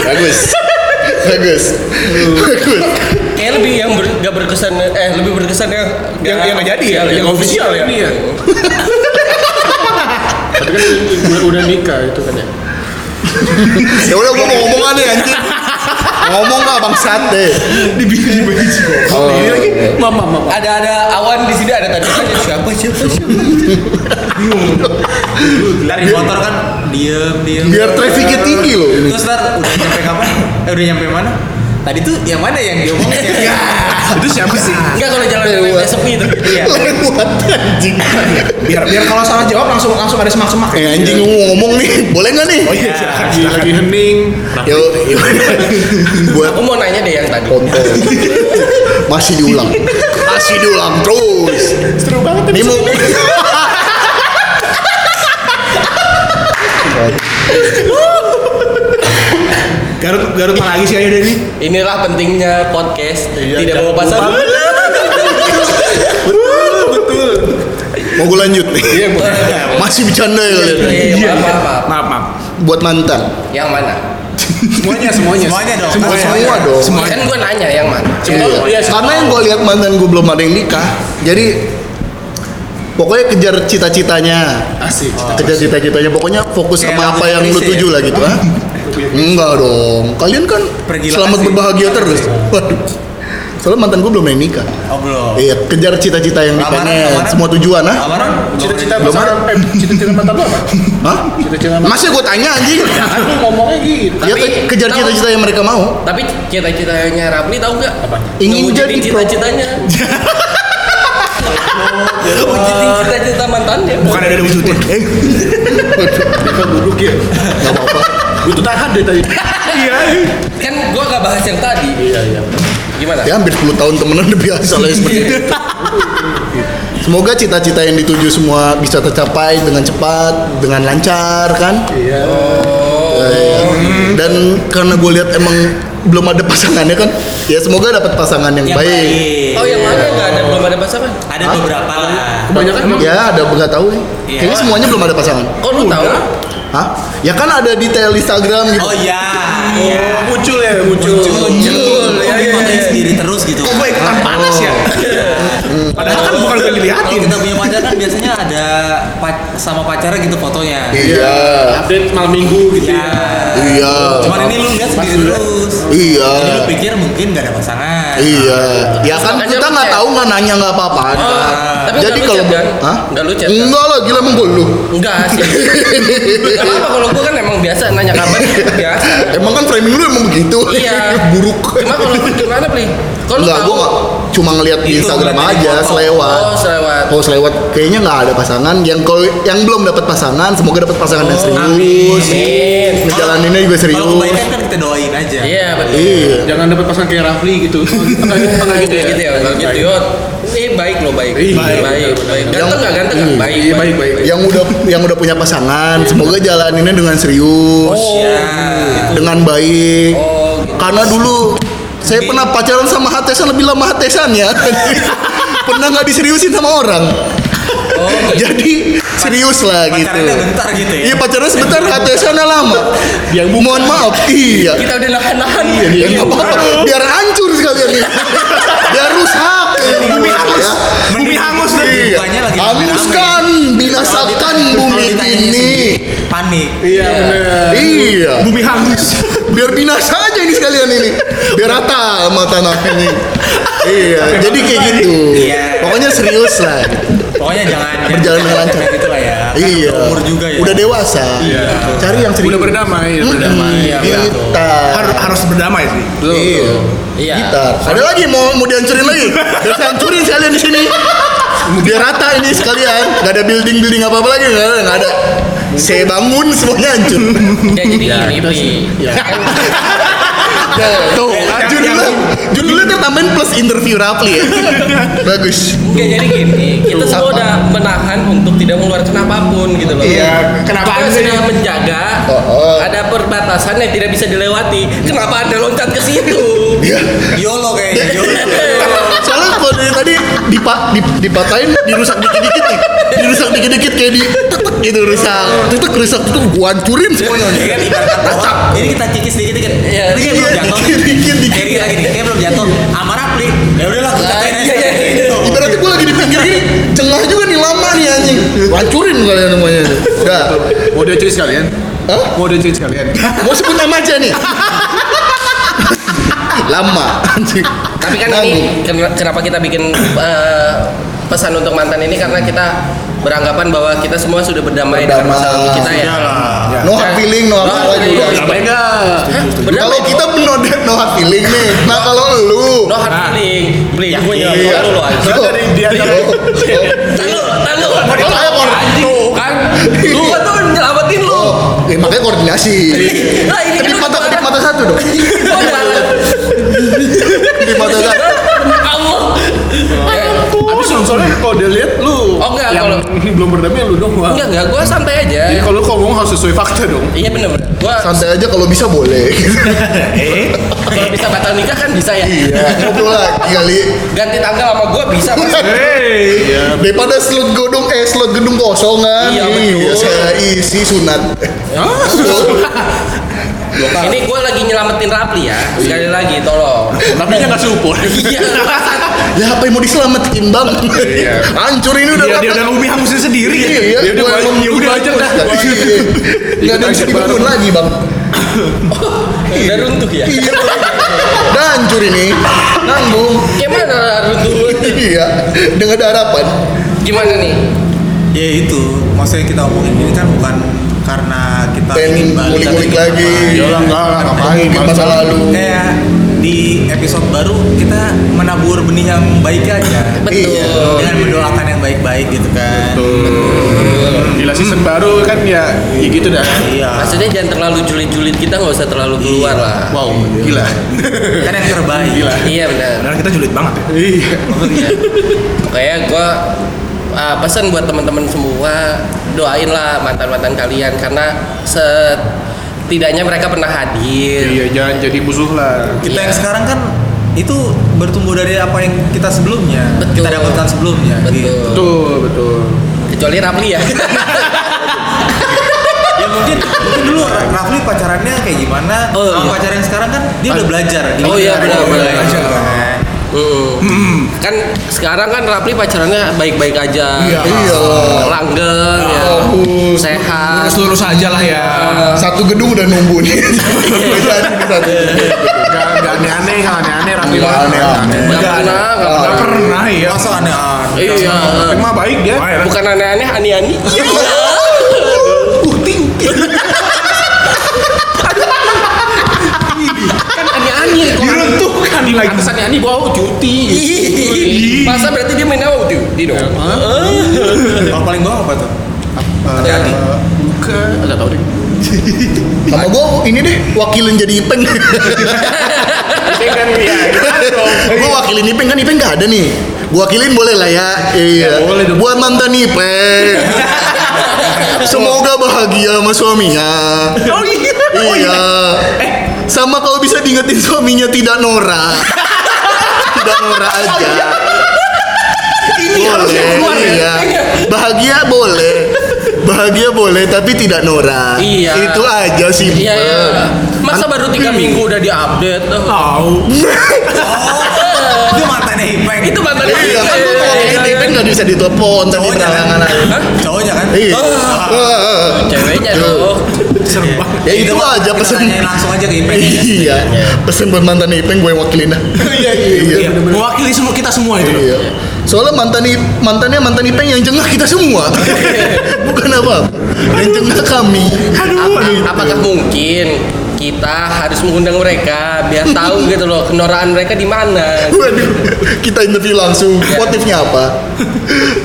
D: Bagus. Bagus. Bagus.
A: kayak lebih yang ber, nggak berkesan eh lebih berkesan yang
E: Yang yang nggak jadi ya, yang official ya.
B: Iya. Tapi kan udah, udah nikah itu kan ya.
D: Ya udah gue mau ngomong aja anjing. Ngomong gak bangsat deh. Oh.
E: Ini lagi mama mama.
A: ada ada awan di sini ada tadi tanya siapa siapa siapa
C: ntar di motor kan diem diem
D: Biar trafficnya tinggi loh ini.
C: terus ntar udah nyampe kapan eh udah nyampe mana tadi tuh yang mana yang diomongin ya
E: Itu siapa sih?
A: enggak kalau jalan udah sepi itu iya
D: Lewat anjing.
E: Biar biar kalau salah jawab langsung langsung ada semak-semak.
D: Eh anjing gue mau ngomong nih, boleh gak nih?
E: Oh iya.
B: Lagi, lagi hening.
D: Yo, yo. buat
A: aku mau nanya deh yang tadi
D: kontol. Masih diulang. Masih diulang terus.
E: Seru banget
D: Ini mau
E: Garut Garut mana lagi sih ayo dari
A: inilah pentingnya podcast tidak bawa pasangan
D: mau gue lanjut nih.
A: Iya,
D: Masih bercanda ya kalian.
A: iya maaf maaf, maaf
E: Maaf maaf.
D: buat mantan?
A: Yang mana?
B: Semuanya, semuanya.
C: Semuanya dong.
D: Semua, semua dong.
A: Kan gue nanya yang mana.
B: Semua.
D: Iya.
B: Iya, semua.
D: Karena yang gue lihat mantan gue belum ada yang nikah, jadi pokoknya kejar cita-citanya,
B: Asik.
D: kejar cita-citanya. Pokoknya fokus
C: Kayak
D: sama apa
C: lagu
D: yang lu
C: Indonesia
D: tuju
C: ya?
D: lah gitu, ah? Enggak dong. Kalian kan
C: Pergilah Iya,
D: selamat
C: sih.
D: berbahagia terus. Waduh. Soalnya mantan gue belum ada yang nikah.
C: Oh belum.
D: Iya, kejar cita-cita yang
C: Lamaran,
D: dipengen,
C: lamaran.
D: semua tujuan, ah?
C: Lamaran?
B: Cita-cita pasangan, eh, cita-cita mantan lu apa?
D: Hah?
B: Cita-cita mantan.
D: Masa gue tanya anjing?
B: Kan lu ngomongnya gitu.
D: Ya ke- kejar
A: tahu-
D: cita-cita yang mereka mau.
A: Tapi cita-citanya Rabli tahu nggak? Apa?
D: Ingin jadi pro-
A: cita-citanya. Wujudin cita-cita mantannya.
E: Bukan ada diwujudin.
B: Kita duduk ya.
D: Gak apa-apa.
B: Gue tuh tahan deh tadi. Iya.
A: Kan gua gak bahas yang tadi.
B: Iya, iya.
A: Gimana?
D: Ya hampir 10 tahun temenan udah biasa lah ya, seperti itu. Semoga cita-cita yang dituju semua bisa tercapai dengan cepat, dengan lancar kan?
B: Iya.
D: Eh, Dan karena gue lihat emang belum ada pasangannya kan, ya semoga dapat pasangan yang,
C: Yang
D: baik.
C: baik.
A: Oh yang mana nggak ada belum ada pasangan?
C: Ada
D: Hah?
C: beberapa lah.
B: Kebanyakan emang
D: Ya ada nggak tahu nih.
C: kan, Iya.
D: Kayaknya semuanya belum ada pasangan.
A: Kok lu tahu?
D: Hah? Ya kan ada detail Instagram gitu.
C: Oh iya. Iya.
B: muncul ya, muncul.
C: Muncul.
B: Muncul.
C: Kok
B: Ya, ya,
C: dikontain
B: ya.
C: sendiri terus gitu. Iya.
E: Kok gue ikutan panas ya? Padahal kan bukan gue
C: Kalau
E: dilihatin.
C: kita punya pacar kan biasanya ada pac- sama pacarnya gitu fotonya.
D: Iya.
B: Update malam minggu gitu.
C: Iya.
B: ya.
D: Iya.
C: Cuman ini lu lihat sendiri terus.
D: Iya.
C: Jadi lu pikir mungkin gak ada pasangan.
D: Iya. Ya kan
A: Makanya
D: kita
A: lu
D: nggak
A: chat.
D: tahu nggak nanya nggak apa-apa. Nah,
A: Oh, tapi
D: Jadi
A: nggak lu
D: kalau
A: chat, kan?
D: Hah?
A: Nggak lu chat, kan?
D: Enggak lah, gila emang gua lu.
A: Enggak sih. Gak apa kalau gua kan emang biasa nanya kabar biasa.
D: Emang kan framing lu emang begitu.
A: Iya.
D: Buruk.
A: Cuma kalau lu gimana beli? Kalau lu
D: Enggak,
A: tahu?
D: gua nggak- cuma ngeliat di
C: Itu
D: Instagram
C: berarti
D: aja,
C: di foto.
D: selewat.
A: Oh selewat.
D: Oh, selewat. Kayaknya nggak ada pasangan. Yang kalau yang belum dapat pasangan, semoga dapat pasangan yang serius.
A: Oh, Amin.
D: Ngejalaninnya juga serius.
C: Kalau kebaikan kan kita doain aja.
A: Iya betul.
D: Iya.
B: Jangan dapat pasangan kayak Rafli gitu. Tengah gitu, tengah gitu ya.
A: Gitu ya, kalau gitu ya. Ini baik lo baik.
B: Iya,
A: baik, baik, baik. Ganteng nggak ganteng nggak? Baik,
B: Iya, baik, baik.
D: Yang udah yang udah punya pasangan, semoga jalaninnya dengan serius.
C: Iya.
A: Oh,
D: dengan baik.
A: Oh, gitu.
D: Karena dulu saya pernah pacaran sama Hatesan lebih lama Hatesan ya. pernah nggak diseriusin sama orang.
A: oh, gitu.
D: Jadi serius lah gitu.
C: Pacarnya bentar gitu ya.
D: Iya pacaran sebentar Hatesannya lama. Yang mohon maaf. Iya.
A: Kita udah nahan-nahan.
D: Iya, nggak apa-apa. Biar hancur sekalian ini. Biar rusak. Bumi hangus.
A: ya?
E: Bumi hangus nih.
C: Bukannya lagi
D: Hanguskan, binasakan bumi ini.
C: Panik.
B: Iya,
A: eh,
B: bener.
D: Iya.
E: Bumi hangus.
D: biar binasa aja ini sekalian ini biar rata sama tanah ini iya jadi kayak gitu
C: Iya.
D: pokoknya serius lah
C: Pokoknya jangan
D: Berjalan dengan lancar.
C: Kayak gitu lah ya. Kan
D: iya
C: udah Umur juga ya.
D: udah dewasa
B: Iya.
D: cari yang serius
B: Udah berdamai, udah berdamai.
D: iya, kita
E: Har- harus berdamai sih.
D: iya
A: Iya.
D: kita ada lagi mau mau dihancurin lagi biar saya hancurin sekalian di sini biar rata ini sekalian nggak ada building building apa apa lagi nggak ada nggak ada saya bangun semuanya hancur
A: Ya jadi gini beli.
D: Tuh, tuh judulnya judulnya tertambahin plus interview Rapli ya bagus
A: Nggak jadi gini. Kita
D: Tuh.
A: semua
D: Apa?
A: udah menahan untuk tidak mengeluarkan apapun gitu loh.
D: Iya,
A: Kenapa
E: kenapa
A: kita
E: sih?
A: sudah menjaga
D: Oh, oh.
A: ada perbatasan yang tidak bisa dilewati. Kenapa anda loncat ke situ? gitu.
D: Iya.
C: YOLO kayaknya. YOLO.
D: Soalnya kalau dari tadi dipa, dip- dipatahin, dirusak dikit-dikit nih. Dirusak dikit-dikit kayak di tetek gitu rusak. Tetek rusak itu gua hancurin semuanya.
A: Iya,
C: Ini kan ibarat kata, Ini kita kikis dikit-dikit. Iya. Ini
D: Iya,
C: kayak belum jatuh.
D: dikit, dikit, dikit.
A: Iya,
C: Kayak gini, gini. Kayak belum jatuh. Amar Apli. Ya udahlah kita katain
A: Iya,
C: aja.
A: iya, iya.
D: Ibaratnya gua lagi di pinggir gini, cengah juga nih lama nih anjing. Gua hancurin kalian semuanya. tuh. Udah.
B: Mau dia cuci sekalian?
D: Hah?
B: ya. Mau dia cuci sekalian?
D: Mau sebut nama aja nih. Lama anjing.
A: Tapi kan ini ken- kenapa kita bikin eh, pesan untuk mantan ini karena kita beranggapan bahwa kita semua sudah berdamai dengan
D: Berdamai.
A: masa lalu kita ya.
D: No hard feeling, no
A: No
D: apa
A: hard
D: juga.
A: feeling.
B: Apa enggak?
A: Berdamai.
D: Kalau kita no, no hard feeling nih. Nah kalau lu
A: No hard feeling. Beli, gue
D: Iya.
A: nyelamatin lu loh, anjing.
B: Soalnya dari dia dari-
A: Tahu, tahu.
D: Oh, ayo, Mon.
A: Anjing, kan? Lu kan tuh nyelamatin lu.
D: Eh, makanya koordinasi.
A: Nah, ini
D: Kedip
A: kan
D: mata,
A: udah
D: kedip
A: banget.
D: mata satu dong.
A: Gua nyelamatin.
D: Kedip mata satu.
A: Allah.
B: Tapi so- soalnya kalau dia lihat lu
A: Oh, enggak,
B: yang
A: kalau-
B: ini belum berdamai lu dong. Wak.
A: Enggak, enggak, gue santai aja.
B: Jadi kalau lu ngomong harus sesuai fakta dong.
A: Iya bener bener. Gue
D: Santai aja kalau bisa boleh.
A: kalau bisa batal nikah kan bisa ya.
D: Iya, ngobrol lagi kali.
A: Ganti tanggal sama gue bisa. Mas.
B: Hei.
D: Daripada slot gedung eh slot gedung kosong kan.
A: Iya, betul.
D: saya isi sunat.
A: Ini gue lagi nyelamatin Rapli ya. Sekali lagi tolong.
B: Tapi dia nggak seupur.
A: Iya.
D: Ya apa yang mau diselamatin bang?
B: Iya.
D: Hancur ini udah.
E: Dia, dia udah ngumi hangusin sendiri.
D: Iya, iya.
B: dia udah
D: Gua
B: banyak,
D: emang
B: ya udah aja
D: bagus,
B: dah.
D: Bang. Iya. Nggak ada yang bisa
B: Ikut aja
D: dibangun
B: baru.
D: lagi bang.
A: Udah runtuh ya.
D: Iya. Udah hancur ini. Nanggung.
A: Gimana runtuh lu?
D: Iya. Dengan ada harapan.
A: Gimana nih?
C: ya itu maksudnya kita omongin ini kan bukan karena kita
D: Pengen ngulik-ngulik lagi.
C: Ya
B: Iyalah, enggak lah, ngapain,
D: Mungkin masa lalu.
B: Eh,
C: kayak di episode baru kita menabur benih yang baik aja
A: Betul.
D: Iya.
C: dengan mendoakan yang baik-baik gitu kan
B: Gila season baru kan ya, ya gitu dah.
C: iya
A: Maksudnya jangan terlalu julid-julid kita nggak usah terlalu
E: Iya.
A: keluar lah.
B: Wow, gila.
C: kan yang terbaik
B: Gila.
A: Iya benar.
E: Padahal kita julid banget ya.
B: Iya.
A: Kayak gue ah, pesan buat teman-teman semua doain lah mantan-mantan kalian karena setidaknya mereka pernah hadir.
B: Iya, jangan jadi musuh lah.
C: kita
A: Iya.
C: yang sekarang kan itu bertumbuh dari apa yang kita sebelumnya
A: Betul.
C: kita dapatkan sebelumnya gitu.
A: Betul.
B: Betul, betul.
A: Kecuali Rapli ya.
C: ya mungkin mungkin dulu Ra- Rafli pacarannya kayak gimana
A: Oh, iya.
C: Sama pacaran yang sekarang kan dia udah belajar gimana
A: Oh, iya, benar,
C: caranya
A: benar.
C: belajar kan.
A: Hmm. Kan sekarang kan Rapli pacarannya baik-baik aja.
D: Iya. Iya.
A: Langgeng ya.
D: Bagus.
A: Sehat.
E: Lurus lurus aja lah ya.
D: Satu gedung udah nunggu nih. Udah jadi nih satu.
B: Gak, gak aneh-aneh, gak aneh-aneh Raffi
D: Nggak
B: mah.
D: aneh-aneh.
A: Nggak pernah, nggak
D: Ah.
E: Gak pernah ya.
C: masa aneh-aneh
A: Iya.
B: Raffi mah baik dia.
A: Bukan aneh-aneh, ani-ani. Iya. Uh, kan ani-ani kok.
E: Diruntuhkan lagi.
A: Iya,
B: Kesannya ini bau cuti.
A: Ih. Masa berarti dia main apa tuh? Dino. Eh.
C: kalau paling bawah apa tuh
A: Hati-hati.
B: Bukan, nggak tahu deh.
D: Sama gue ini deh wakilin jadi Ipeng.
B: Kan ya,
E: Iya.
B: gimana dong.
D: gue wakilin Ipeng kan Ipeng nggak ada nih. Gue wakilin boleh lah ya. Iya.
B: boleh dong.
D: Buat mantan Ipeng. Semoga bahagia sama suaminya.
E: Oh iya. Oh
D: Iya. Sama kalau bisa diingetin suaminya tidak Nora. tidak Nora aja. boleh. Iya. Bahagia boleh. Bahagia boleh tapi tidak Nora.
A: Iya.
D: Itu aja sih. Kan-
A: Iya, iya. Masa baru tiga minggu udah diupdate? Hmm. Oh.
E: Tahu.
C: itu mantannya Ipeng
A: Itu mantannya
D: Iya, Oh, kan gua
A: Ipeng.
D: kalau wakilin Ipeng nggak bisa ditelepon tadi
C: cowoknya kan
D: perangan aja.
C: cowoknya kan
D: Iya.
A: Ceweknya dong.
E: Serem banget.
D: Oh. Ya itu
C: Kita-
D: aja
C: kita
D: pesen.
C: tanyain langsung aja ke Ipeng ya.
D: Iya. Pesen buat mantan Ipeng gue yang wakilin dah. Iya
E: Iya. Mewakili semua kita semua itu.
D: Iya. Soalnya mantan I- mantannya mantan Ipeng yang jengah kita semua. Bukan apa. Yang jengah kami.
A: Apa, apakah mungkin kita harus mengundang mereka biar tahu gitu loh kenoraan mereka di mana?
D: Waduh, kita interview langsung. Motifnya apa?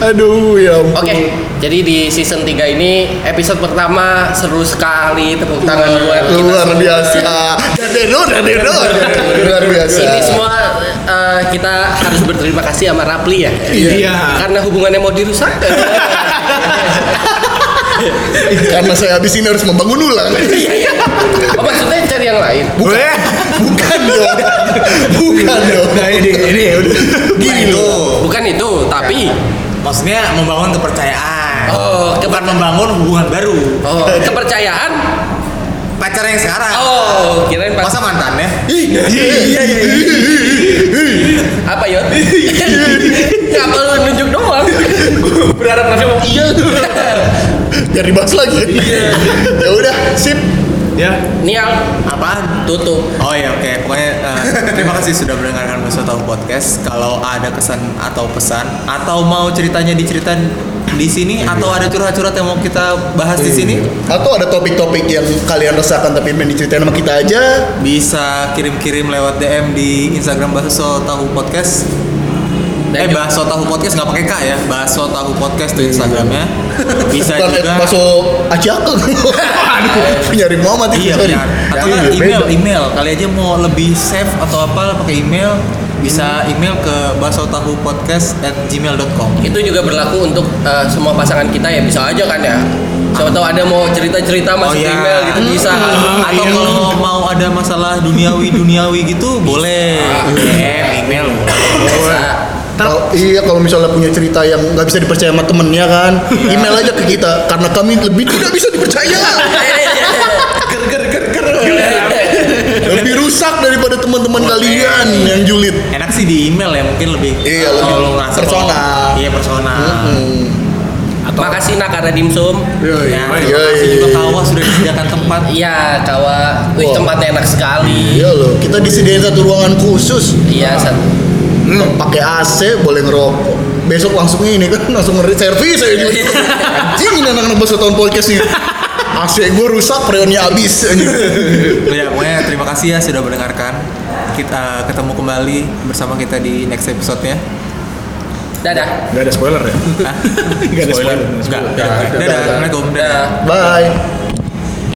D: Aduh, ya ampun.
A: Oke, jadi di season 3 ini episode pertama seru sekali tepuk tangan buat kita
D: Luar
A: semua.
D: biasa. Dadeno, dadeno. Luar biasa.
A: Ini semua eh, kita harus berterima kasih sama Rapli ya.
D: Iya.
A: Karena hubungannya mau dirusak.
D: Karena saya habis ini harus membangun ulang.
A: Iya, iya. Oh, maksudnya cari yang lain.
E: Bukan.
D: Bukan dong. Bukan dong.
E: Nah ini ini ya udah.
D: Gini
C: itu
D: loh.
A: Bukan itu, tapi
C: maksudnya membangun kepercayaan
A: Oh,
C: bukan membangun hubungan baru
A: oh, kepercayaan.
C: pacar yang sekarang
A: Oh, kirain pas
C: masa mantannya
D: Iya.
C: Iya,
A: apa ya? Nggak perlu nunjuk doang. Berharap nanti mau iya.
D: Biar dibahas lagi.
C: Iya.
D: ya udah, sip.
E: Ya.
A: Nial
C: apaan
A: tutup.
C: Oh iya oke pokoknya eh, terima kasih sudah mendengarkan Besok Tahu Podcast. Kalau ada kesan atau pesan atau mau ceritanya diceritain di sini atau ada curhat-curhat yang mau kita bahas di sini
D: Atau ada topik-topik yang kalian resahkan tapi pengen diceritain sama kita aja.
C: bisa kirim-kirim lewat DM di Instagram Bakso Tahu Podcast.
A: Dan
C: eh Bakso Tahu Podcast nggak pakai K ya. Bakso Tahu Podcast tuh Instagramnya. Bisa
D: Bukan
C: juga
D: masuk Acaka. Aduh, nyari Muhammad itu,
C: Iya
D: sorry.
C: benar. Atau
D: Iya,
C: nggak
D: beda.
C: email, email. Kali aja mau lebih safe atau apa pakai email bisa email ke basotahupodcast@gmail.com.
A: Itu juga berlaku untuk eh, semua pasangan kita ya bisa aja kan ya. Siapa tahu ada mau cerita-cerita
D: Oh,
A: masuk
C: iya.
A: email gitu bisa.
C: Atau
E: iya.
C: kalau mau ada masalah duniawi duniawi gitu boleh.
D: Ah.
C: DM, email.
A: Bisa.
D: Kalau- iya kalau misalnya punya cerita yang nggak bisa dipercaya sama temennya kan email aja ke kita karena kami lebih tidak bisa dipercaya
A: Eh,
D: rusak daripada teman-teman kalian yang julid.
C: enak sih di email ya mungkin lebih
D: Iya,
C: kalau
D: lebih
C: lu ngerasa
D: personal.
C: kalau- iya persona
D: Hmm.
A: Makasih nak karena dimsum.
D: Yoi.
C: ya
D: Yoi.
C: terima kasih
D: iya.
C: juga kawa sudah disediakan tempat
A: Iya, kawa. Wih,
D: Wow.
A: tempatnya enak sekali.
D: Iya loh, kita disediain satu ruangan khusus.
A: Iya, satu.
D: Pakai AC, boleh ngerokok. Besok langsung ini kan langsung ngeri servis aja. gitu. Anjing ini anak-anak bahasa tahun podcast nih. AC gue rusak, freonnya habis. anjing.
C: ya pokoknya terima kasih ya sudah mendengarkan kita eh, ketemu kembali bersama kita di next episode-nya
A: Dadah.
B: Gak ada spoiler ya?
C: Hah?
B: Gak ada spoiler.
C: Enggak, dadah, assalamualaikum, dadah.
D: Bye.